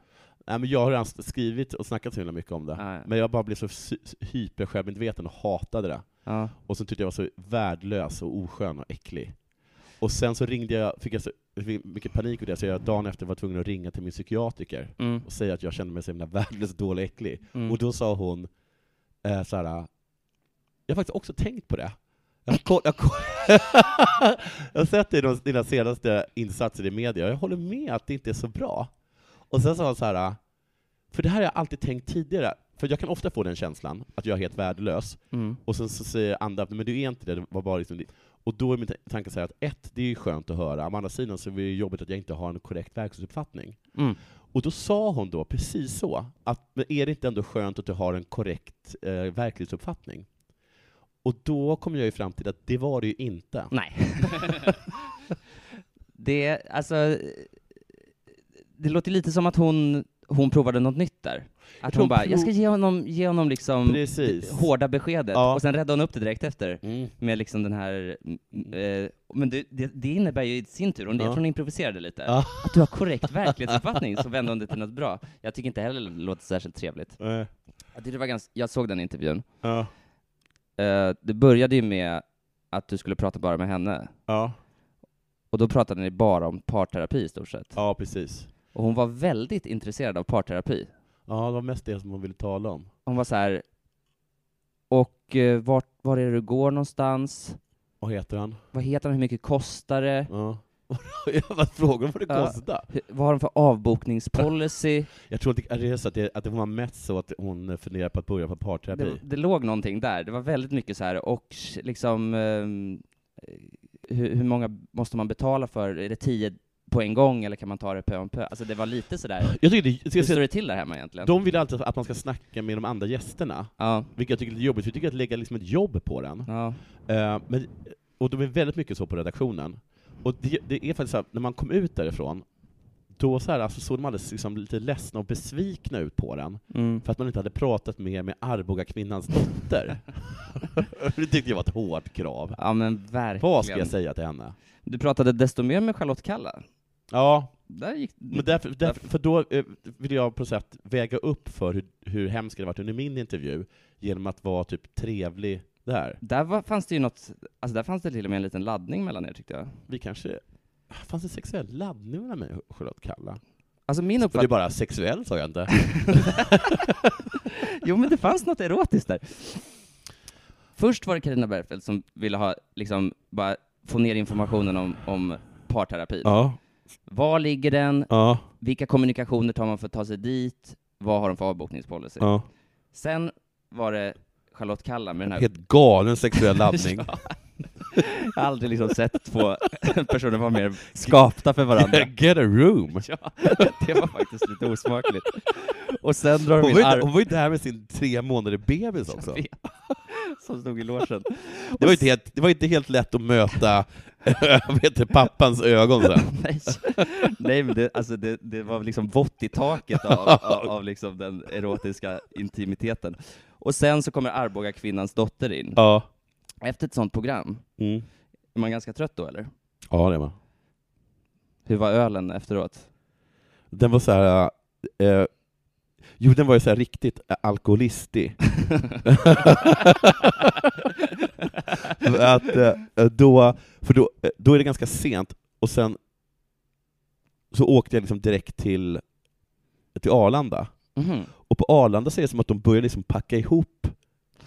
B: Nej, men jag har redan skrivit och snackat så himla mycket om det.
A: Ah, ja.
B: Men jag bara blev så sy- hyper-självmedveten och hatade det.
A: Ja.
B: Och sen tyckte jag var så värdelös och oskön och äcklig. Och sen så ringde jag, fick jag så jag fick mycket panik över det, så jag dagen efter var tvungen att ringa till min psykiatriker
A: Mm.
B: och säga att jag kände mig så himla värdelös, dålig och äcklig.
A: Mm.
B: Och då sa hon eh, så här. jag har faktiskt också tänkt på det. Jag har, koll, jag, har koll, jag har sett det i de- dina senaste insatser i media, jag håller med att det inte är så bra. Och sen sa hon så här. för det här har jag alltid tänkt tidigare, för jag kan ofta få den känslan, att jag är helt värdelös,
A: Mm.
B: och sen så säger andra att men du är inte det, det var bara liksom det. Och då är min ta- tanke så här att ett, det är ju skönt att höra, men å andra sidan så är det ju jobbigt att jag inte har en korrekt verklighetsuppfattning.
A: Mm.
B: Och då sa hon då precis så, att men är det inte ändå skönt att du har en korrekt eh, verklighetsuppfattning? Och då kom jag ju fram till att det var det ju inte.
A: Nej. det, alltså, eh, det låter lite som att hon, hon provade något nytt där. Att
B: tror
A: hon
B: hon
A: bara,
B: prov-
A: jag ska ge honom, ge honom liksom
B: Precis.
A: det hårda beskedet,
B: Ja.
A: och sen räddade hon upp det direkt efter.
B: Mm.
A: Med liksom den här, mm, eh, men det, det, det innebär ju i sin tur, om det
B: Ja.
A: jag tror hon improviserade lite,
B: Ja.
A: att du har korrekt verklighetsuppfattning, så vänder hon det till något bra. Jag tycker inte heller det låter särskilt trevligt.
B: Eh,
A: Jag, tyckte det var ganska, jag såg den intervjun.
B: Ja.
A: Eh, det började ju med att du skulle prata bara med henne,
B: Ja.
A: och då pratade ni bara om parterapi i stort sett.
B: ja, precis.
A: Och hon var väldigt intresserad av parterapi.
B: Ja, det var mest det som hon ville tala om.
A: Hon var så här. och eh, vart, var är det du går någonstans?
B: Vad heter han?
A: Vad heter han? Hur mycket kostar det?
B: Ja. Jag bara frågade vad det
A: Ja.
B: kostade.
A: Hur, vad har de för avbokningspolicy?
B: Jag tror att det, är så att det, att det var mest så att hon funderar på att börja på parterapi.
A: det, det låg någonting där. Det var väldigt mycket så här och sh- liksom ehm, hur, hur många måste man betala för? Är det tio på en gång eller kan man ta det pö om pö? Alltså det var lite sådär,
B: Jag tycker det, jag
A: hur
B: ska
A: står
B: säga,
A: det till där hemma egentligen?
B: de vill alltid att man ska snacka med de andra gästerna,
A: Ja,
B: vilket jag tycker är lite jobbigt, för jag tycker att lägga liksom ett jobb på den.
A: ja,
B: Eh, men, och de är väldigt mycket så på redaktionen. Och det, det är faktiskt så här, när man kom ut därifrån, då så här, alltså, såg de alldeles liksom, lite ledsna och besvikna ut på den,
A: mm.
B: för att man inte hade pratat mer med Arboga kvinnans dotter. det tyckte jag var ett hårt krav.
A: ja men
B: Vad ska jag
A: verkligen.
B: säga till henne?
A: Du pratade desto mer med Charlotte Kalla.
B: Ja,
A: Där gick
B: Men därför, därför, för då eh, vill jag på något sätt väga upp för hur, hur hemskt det varit under min intervju, genom att vara typ trevlig där.
A: Där var, fanns det ju något, alltså där fanns det till och med en liten laddning mellan er tyckte jag.
B: Vi kanske... Fanns det sexuell laddning mellan mig och Charlotte Kalla?
A: Alltså min
B: Och det är
A: uppfattning,
B: bara sexuell, sa jag inte.
A: jo men det fanns något erotiskt där. Först var det Carina Bergfeldt som ville ha, liksom, bara få ner informationen om, om parterapin.
B: Ja.
A: Var ligger den?
B: Ja.
A: Vilka kommunikationer tar man för att ta sig dit? Vad har de för avbokningspolicy?
B: ja.
A: Sen var det Charlotte Kalla med den här...
B: Helt galen sexuell laddning.
A: Jag har aldrig liksom sett två personer vara mer skapta för varandra.
B: Get a room!
A: Ja, det var faktiskt lite osmakligt. Och sen drar de
B: Hon
A: in
B: var, ju,
A: Arboga
B: hon var ju där med sin tre månader bebis också.
A: som stod i logen.
B: Det var ju inte helt, det var ju inte helt lätt att möta vad heter, det, pappans ögon sen.
A: Nej, Nej men det, alltså det, det var liksom vått i taket av, av, av liksom den erotiska intimiteten. Och sen så kommer Arboga kvinnans dotter in.
B: Ja.
A: Efter ett sånt program,
B: Mm.
A: är man ganska trött då eller?
B: Ja, det är man.
A: Hur var ölen efteråt?
B: Den var så här... Eh, jo, den var ju så här riktigt alkoholistig. att, eh, då, för då, eh, då är det ganska sent, och sen så åkte jag liksom direkt till, till Arlanda.
A: Mhm.
B: Och på Arlanda så är det som att de börjar liksom packa ihop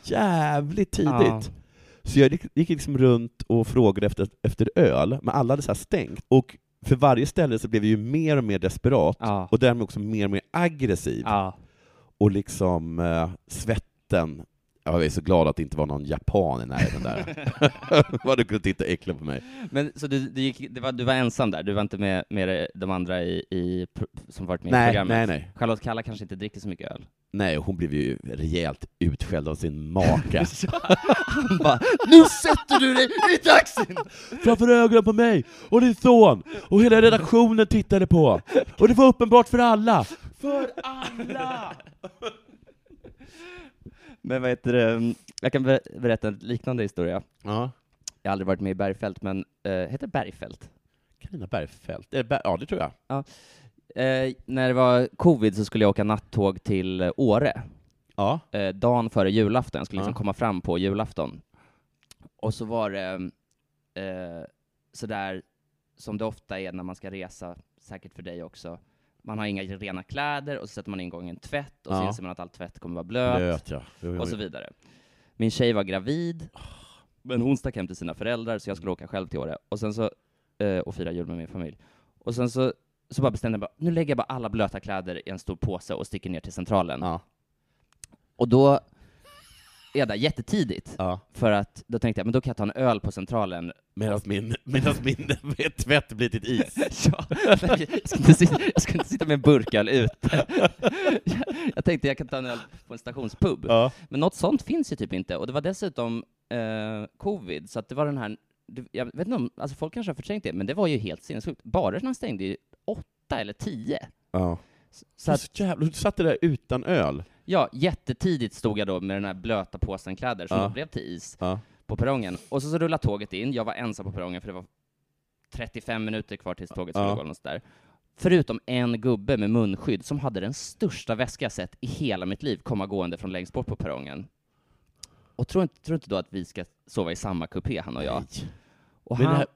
B: jävligt tidigt.
A: Ja.
B: Så jag gick, gick liksom runt och frågade efter, efter öl, men alla hade så här stängt. Och för varje ställe så blev jag ju mer och mer desperat,
A: Ja.
B: och därmed också mer och mer aggressiv.
A: Ja.
B: Och liksom eh, svetten, jag är så glad att det inte var någon japan i närheten där. Vad du kunde titta äckligt på mig.
A: Men så du, du, gick, det var, du var ensam där, du var inte med, med de andra i, i, pr- som varit med i
B: Nej,
A: programmet?
B: nej, nej.
A: Charlotte Kalla kanske inte dricker så mycket öl?
B: Nej, och hon blev ju rejält utskälld av sin make.
A: Han bara ”Nu sätter du dig i taxin!”
B: framför ögonen på mig och din son och hela redaktionen tittade på. Och det var uppenbart för alla. För alla!
A: Men vad heter det, mm, jag kan be- berätta en liknande historia.
B: Ja.
A: Jag har aldrig varit med i Bergfält, men eh, heter det Bergfält?
B: Carina Bergfeldt. Eh, Ber- Ja, det tror jag.
A: Eh, när det var covid så skulle jag åka nattåg till eh, Åre,
B: Ja.
A: eh, dagen före julafton. Jag skulle liksom
B: Ja.
A: komma fram på julafton. Och så var det eh, sådär som det ofta är när man ska resa, säkert för dig också, man har inga rena kläder och så sätter man in gång en tvätt och så
B: Ja.
A: inser man att all tvätt kommer vara blöt.
B: Blöt, ja. Jo, jo,
A: och så
B: jo.
A: vidare. Min tjej var gravid, men hon stack hem till sina föräldrar, så jag skulle åka själv till Åre och, sen så, eh, och fira jul med min familj. Och sen så, så bara bestämde jag bara, nu lägger jag bara alla blöta kläder i en stor påse och sticker ner till Centralen.
B: Ja.
A: Och då är jag där jättetidigt,
B: Ja.
A: för att då tänkte jag, men då kan jag ta en öl på Centralen.
B: Medan min, medans min tvätt blir till is.
A: Ja, nej, jag, ska inte sitta, jag ska inte sitta med en burköl ute. Jag, jag tänkte jag kan ta en öl på en stationspub.
B: Ja.
A: Men något sånt finns ju typ inte, och det var dessutom eh, covid, så att det var den här, det- jag vet inte om, alltså folk kanske har förträngt det, men det var ju helt sinnessjukt. Barerna stängde ju åtta eller tio.
B: ja.
A: S- Så
B: Så
A: att,
B: jävla, du satt där utan öl.
A: ja, jättetidigt stod jag då med den här blöta påsen kläder som
B: Ja.
A: då blev till is
B: Ja.
A: på perrongen. Och så, så rullade tåget in, jag var ensam på perrongen för det var 35 minuter kvar tills tåget skulle
B: Ja.
A: gå eller något sådär. Förutom en gubbe med munskydd som hade den största väska jag sett i hela mitt liv komma gående från längst bort på perrongen. Och tror inte, tror inte då att vi ska sova i samma kupé, han och jag?
B: Nej.
A: Och
B: Med,
A: han,
B: den här,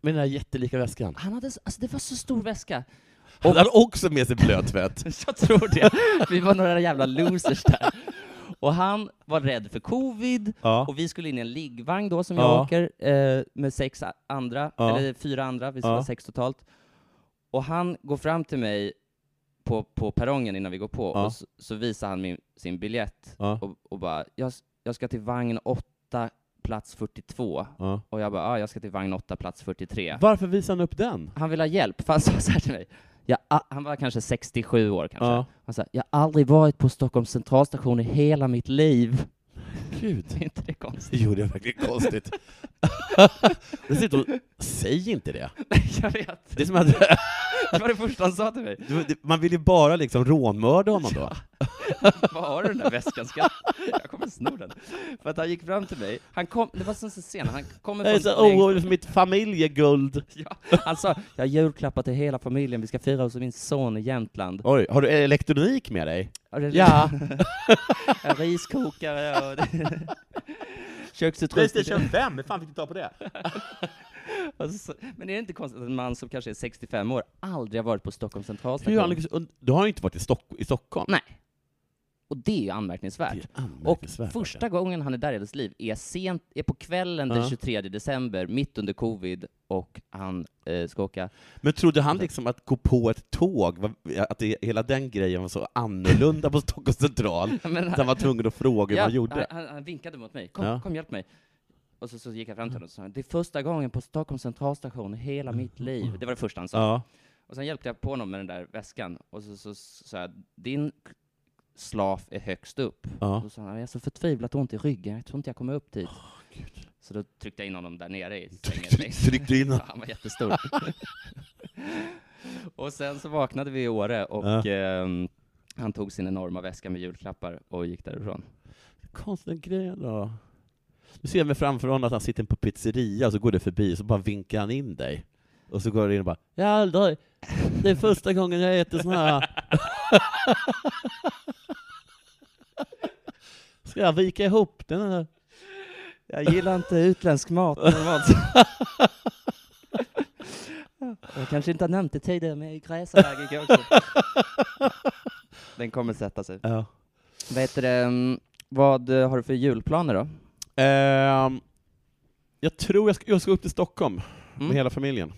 B: med den här jättelika väskan.
A: han hade, s- alltså det var så stor väska.
B: Han hade också med sig blötvätt.
A: Jag tror det. Vi var några jävla losers där. Och han var rädd för covid,
B: ja.
A: och vi skulle in i en liggvagn då som jag
B: Ja.
A: åker eh, med sex a- andra,
B: Ja.
A: eller fyra andra, vi skulle
B: Ja.
A: vara sex totalt. Och han går fram till mig på, på perrongen innan vi går på,
B: Ja.
A: och så, så visar han min, sin biljett
B: Ja.
A: och, och bara jag, s- “Jag ska till vagn 8, plats 42”
B: Ja.
A: och jag bara “Ja, jag ska till vagn 8, plats 43”.
B: Varför visade han upp den?
A: Han ville ha hjälp, för han sa så här till mig. Jag, a- han var kanske 67 år kanske.
B: Ja.
A: Han sa, jag har aldrig varit på Stockholms centralstation i hela mitt liv.
B: Gud.
A: Är inte det konstigt?
B: Jo, det är verkligen konstigt. Dessutom, säg inte det.
A: jag vet.
B: det, är som att,
A: Det var det första han sa till mig.
B: man vill ju bara liksom rånmörda honom då.
A: Vad har du den där väskan? Ska jag, jag kommer sno den. För att han gick fram till mig. Han kom, det var så scen, han kommer
B: Jag är
A: från...
B: så orolig för mitt familjeguld.
A: ja, han sa, jag har julklappar till hela familjen, vi ska fira hos min son i Jämtland.
B: Oj, har du elektronik med dig?
A: Och det-
B: Ja.
A: en riskokare och... Köksutrustning.
B: Playstation 5, hur fan fick du ta på det?
A: Alltså, så- men är det inte konstigt att en man som kanske är 65 år aldrig har varit på Stockholms centralstation?
B: Hur har han lyckats und- du har ju inte varit i, Stock i Stockholm.
A: Nej. Och det är ju anmärkningsvärt.
B: Det är
A: och
B: anmärkningsvärt.
A: första gången han är där i hans liv är, sent, är på kvällen den
B: Ja.
A: 23 december, mitt under covid, och han eh, ska åka...
B: Men trodde han liksom att gå på ett tåg, var- att det, hela den grejen var så annorlunda på Stockholms central, att
A: Men,
B: han var tvungen att fråga hur
A: ja, alltså.
B: man gjorde?
A: han, han vinkade mot mig. Kom,
B: Ja.
A: kom hjälp mig. Och så, så gick jag fram till honom och sa det är första gången på Stockholms centralstation i hela mitt liv. Det var det första han sa.
B: Ja.
A: Och sen hjälpte jag på honom med den där väskan, och så sa så, så, sa jag, din slaf är högst upp. Och
B: ja.
A: Då sa han, jag är så förtvivlat ont i ryggen, jag tror inte jag kommer upp dit. så då tryckte jag in honom där nere i sängen. längst.
B: Tryckte in
A: Ja, han var jättestor. och sen så vaknade vi i Åre och
B: Ja.
A: ehm, han tog sin enorma väska med julklappar och gick därifrån.
B: Konstiga grejer då. Du ser mig framför honom att han sitter på pizzeria, och så går det förbi, och så bara vinkar han in dig. Och så går du in och bara ”Jag har aldrig, det är första gången jag äter sån här”. Ska jag vika ihop den här?
A: Jag gillar inte utländsk mat normalt. Jag kanske inte har nämnt det tidigare, men jag är gräsallergiker också. Den kommer sätta sig.
B: Ja.
A: Vad heter det, mm, vad eh, har du för julplaner då?
B: Ehm, jag tror jag ska, jag ska upp till Stockholm
A: Mm.
B: med hela familjen.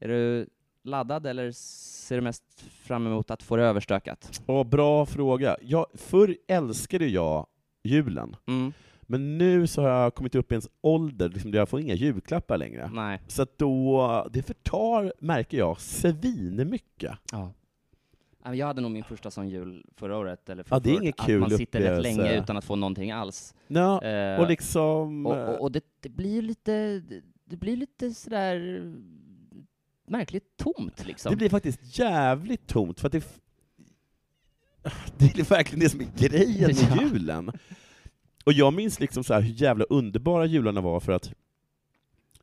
A: Är du laddad eller ser du mest fram emot att få det överstökat?
B: Och bra fråga. Jag, förr älskade jag julen,
A: Mm.
B: men nu så har jag kommit upp i en ålder liksom, där jag får inga julklappar längre.
A: Nej.
B: Så att då, det förtar, märker jag, svinmycket.
A: Ja. Ja, men Jag hade nog min första sån jul förra året, eller
B: Ja, det är
A: förrförra,
B: ingen
A: att
B: kul
A: man sitter rätt
B: upplevelse.
A: länge utan att få någonting alls.
B: Ja,
A: Eh,
B: och liksom...
A: och, och, och det, det blir ju lite, det blir lite sådär märkligt tomt liksom.
B: Det blir faktiskt jävligt tomt, för att det... f- Det är verkligen det som är grejen med
A: Ja.
B: julen. Och jag minns liksom så här hur jävla underbara jularna var för att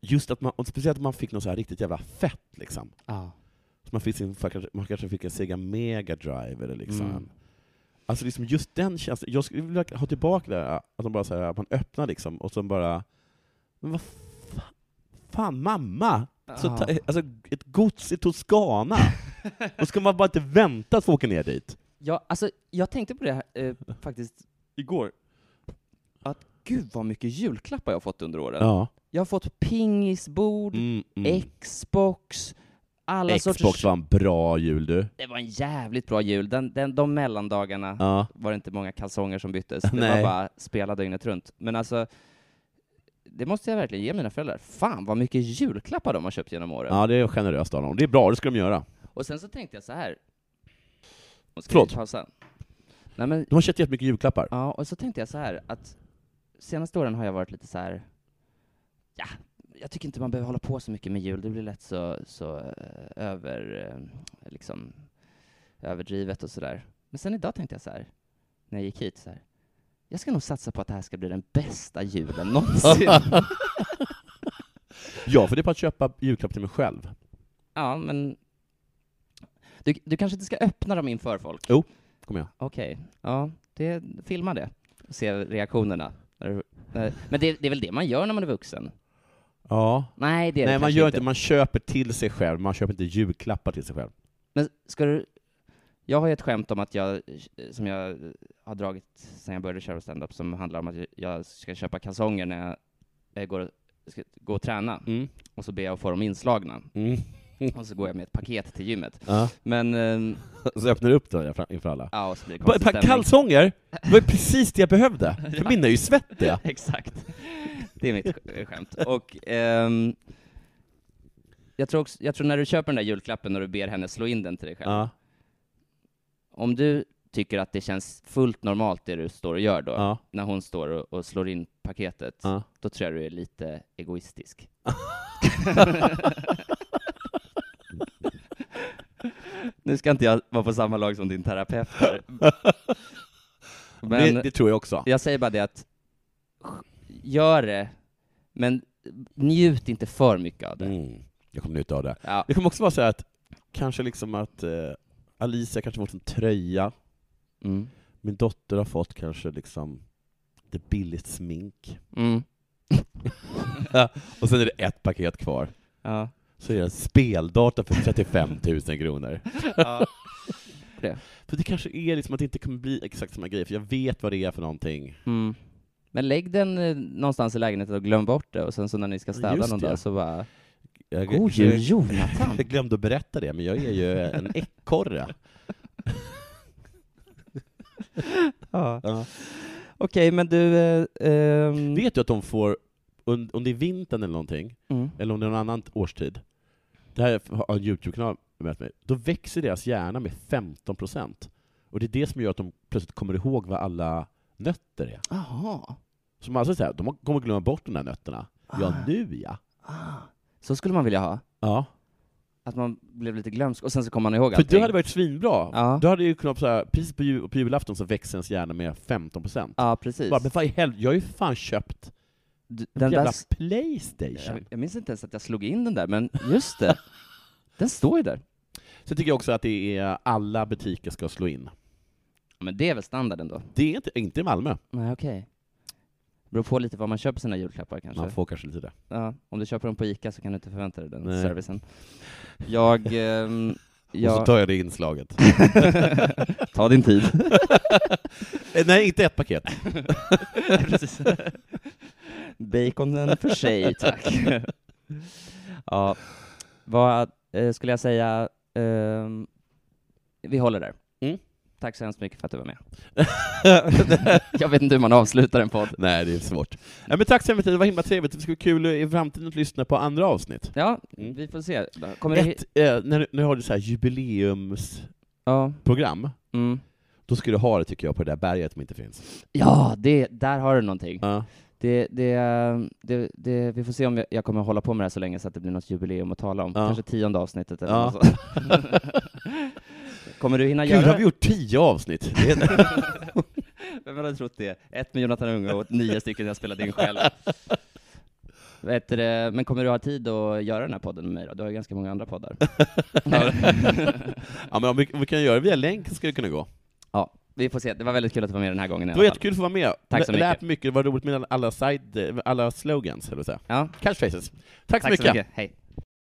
B: just att man, och speciellt att man fick något så här riktigt jävla fett liksom.
A: Ja.
B: Så man, fick sin, man kanske fick en Sega Mega Drive eller liksom.
A: Mm.
B: Alltså liksom just den känslan, jag skulle vilja ha tillbaka det här, att de bara så här, att man öppnar liksom, och så bara Men vad fa- fan, mamma! Så
A: Ja.
B: ta, alltså, ett gods i Toscana! och ska man bara inte vänta att få åka ner dit?
A: Ja, alltså, jag tänkte på det här, eh, faktiskt igår, att gud vad mycket julklappar jag har fått under åren.
B: Ja.
A: Jag har fått pingisbord,
B: Mm, mm.
A: Xbox, alla
B: Xbox
A: sorters...
B: var en bra jul du.
A: Det var en jävligt bra jul. Den, den, de mellandagarna
B: Ja.
A: var det inte många kalsonger som byttes. Det var
B: Nej.
A: bara spela dygnet runt. Men alltså, det måste jag verkligen ge mina föräldrar. Fan vad mycket julklappar de har köpt genom åren.
B: ja, det är generöst av dem. Det är bra, det ska de göra.
A: Och sen så tänkte jag så här. Och ska
B: Förlåt.
A: vi pausa? Nej, men,
B: De har köpt jättemycket julklappar.
A: ja, och så tänkte jag så här att senaste åren har jag varit lite så här. Ja, jag tycker inte man behöver hålla på så mycket med jul. Det blir lätt så, så eh, över, eh, liksom, överdrivet och sådär. Men sen idag tänkte jag så här, när jag gick hit så här. Jag ska nog satsa på att det här ska bli den bästa julen någonsin.
B: Ja, för det är på att köpa julklapp till mig själv.
A: ja, men Du, du kanske inte ska öppna dem inför folk?
B: Kommer jag.
A: Okej, ja, det, filma det. Och se reaktionerna. När du- när- Men det, det är väl det man gör när man är vuxen?
B: Ja.
A: Nej, det är
B: Nej,
A: det
B: man
A: kanske
B: gör inte, man köper till sig själv, man köper inte julklappar till sig själv.
A: Men ska du... Jag har ju ett skämt om att jag, som jag har dragit sen jag började köra stand-up som handlar om att jag ska köpa kalsonger när jag eh, går, och- ska gå och träna,
B: Mm.
A: och så ber jag att få dem inslagna,
B: Mm.
A: och så går jag med ett paket till gymmet.
B: Ja.
A: Men, ehm,
B: Så öppnar du upp den fram- inför alla.
A: ja, och så blir det
B: Bara
A: konstig
B: ett par
A: stämning.
B: kalsonger! Det var ju precis det jag behövde, för mina är ju svettiga.
A: Exakt. Det är mitt sk- eh, skämt. Och, ehm, jag, tror också, jag tror när du köper den där julklappen och du ber henne slå in den till dig själv,
B: Ja.
A: om du tycker att det känns fullt normalt det du står och gör då,
B: Ja.
A: när hon står och, och slår in paketet,
B: Ja.
A: då tror jag du är lite egoistisk. nu ska inte jag vara på samma lag som din terapeut här. Men
B: det, det tror jag också.
A: jag säger bara det att, gör det, men njut inte för mycket av det.
B: Mm. Jag kommer njuta av det.
A: Ja,
B: Det kommer också vara så här att, kanske liksom att eh, Alicia kanske fått en tröja,
A: mm.
B: min dotter har fått kanske liksom lite billigt smink,
A: Mm.
B: och sen är det ett paket kvar.
A: Ja.
B: Så är det en speldata för 35 000 kronor.
A: Ja.
B: För det kanske är liksom att det inte kommer bli exakt samma grej, för jag vet vad det är för någonting.
A: Mm. Men lägg den eh, någonstans i lägenheten och glöm bort det, och sen så när ni ska städa
B: Just
A: någon
B: det.
A: dag så bara
B: Jag,
A: God
B: jag,
A: jul Jonathan!
B: jag glömde att berätta det, men jag är ju en ekorre.
A: ja.
B: Ja.
A: Okej, men du... Eh, ehm,
B: Vet du att de får, un- om det är vintern eller någonting,
A: mm.
B: eller om det är någon annan årstid, det här har en YouTube-kanal med mig, då växer deras hjärna med 15%. Och det är det som gör att de plötsligt kommer ihåg vad alla nötter är.
A: Aha.
B: Så man alltså säger, de kommer glömma bort de där nötterna. Ja,
A: Ah.
B: nu ja.
A: Ah. Så skulle man vilja ha.
B: Ja.
A: Att man blev lite glömsk, och sen så kommer man ihåg
B: För
A: allting.
B: du hade varit svinbra.
A: Ja.
B: Du hade ju kunnat, så här, precis på, jul, på julafton så växer ens hjärna med 15%.
A: Ja, precis.
B: Bara, men vad i helvete, jag har ju fan köpt
A: Du-
B: en
A: den där...
B: jävla
A: s- Jag,
B: Playstation.
A: jag minns inte ens att jag slog in den där, men just det. den står ju där.
B: Sen tycker jag också att det är alla butiker ska slå in.
A: Ja, men det är väl standarden då?
B: Det är inte, inte i Malmö.
A: Nej, okej. Beror på lite vad man köper sina julklappar kanske.
B: Man får kanske lite det.
A: Ja, om du köper dem på ICA så kan du inte förvänta dig den
B: Nej.
A: servicen. Jag... ehm,
B: Och så
A: jag...
B: tar jag det inslaget.
A: Ta din tid.
B: Eh, Nej, inte ett paket.
A: Precis. Baconen för sig, tack. ja, vad eh, skulle jag säga? Ehm, vi håller där.
B: Mm.
A: Tack så hemskt mycket för att du var med. jag vet inte hur man avslutar en podd.
B: Nej, det är svårt. Nej, men tack så mycket, det var himla trevligt. Det ska bli kul i framtiden att lyssna på andra avsnitt.
A: Ja,
B: Mm.
A: vi får se. Kommer det...
B: Ett, eh, när, du- när du har du så här jubileumsprogram,
A: Ja. Mm.
B: då ska du ha det tycker jag på det där berget som inte finns.
A: Ja, det, där har du någonting.
B: Ja.
A: Det, det, det, det, vi får se om jag, jag kommer hålla på med det här så länge så att det blir något jubileum att tala om.
B: Ja.
A: Kanske tionde avsnittet eller
B: Ja.
A: något sånt. Kommer du hinna
B: Gud,
A: göra
B: har vi gjort tio avsnitt? Det är-
A: Vem hade trott det? Ett med Jonathan Unge och nio stycken jag spelade in själv. Vet du, det, men kommer du ha tid att göra den här podden med mig då? Du har ju ganska många andra poddar.
B: ja, men om vi, om vi kan göra det via länk så ska det kunna gå.
A: ja, vi får se. Det var väldigt kul att du var med den här gången i
B: Det var
A: alla fall.
B: jättekul att få vara med.
A: Tack så
B: Jag Lät
A: mycket.
B: mycket, det var roligt med alla, side, alla slogans, eller så.
A: Ja,
B: Catchphrases. Tack,
A: tack så mycket. Hej.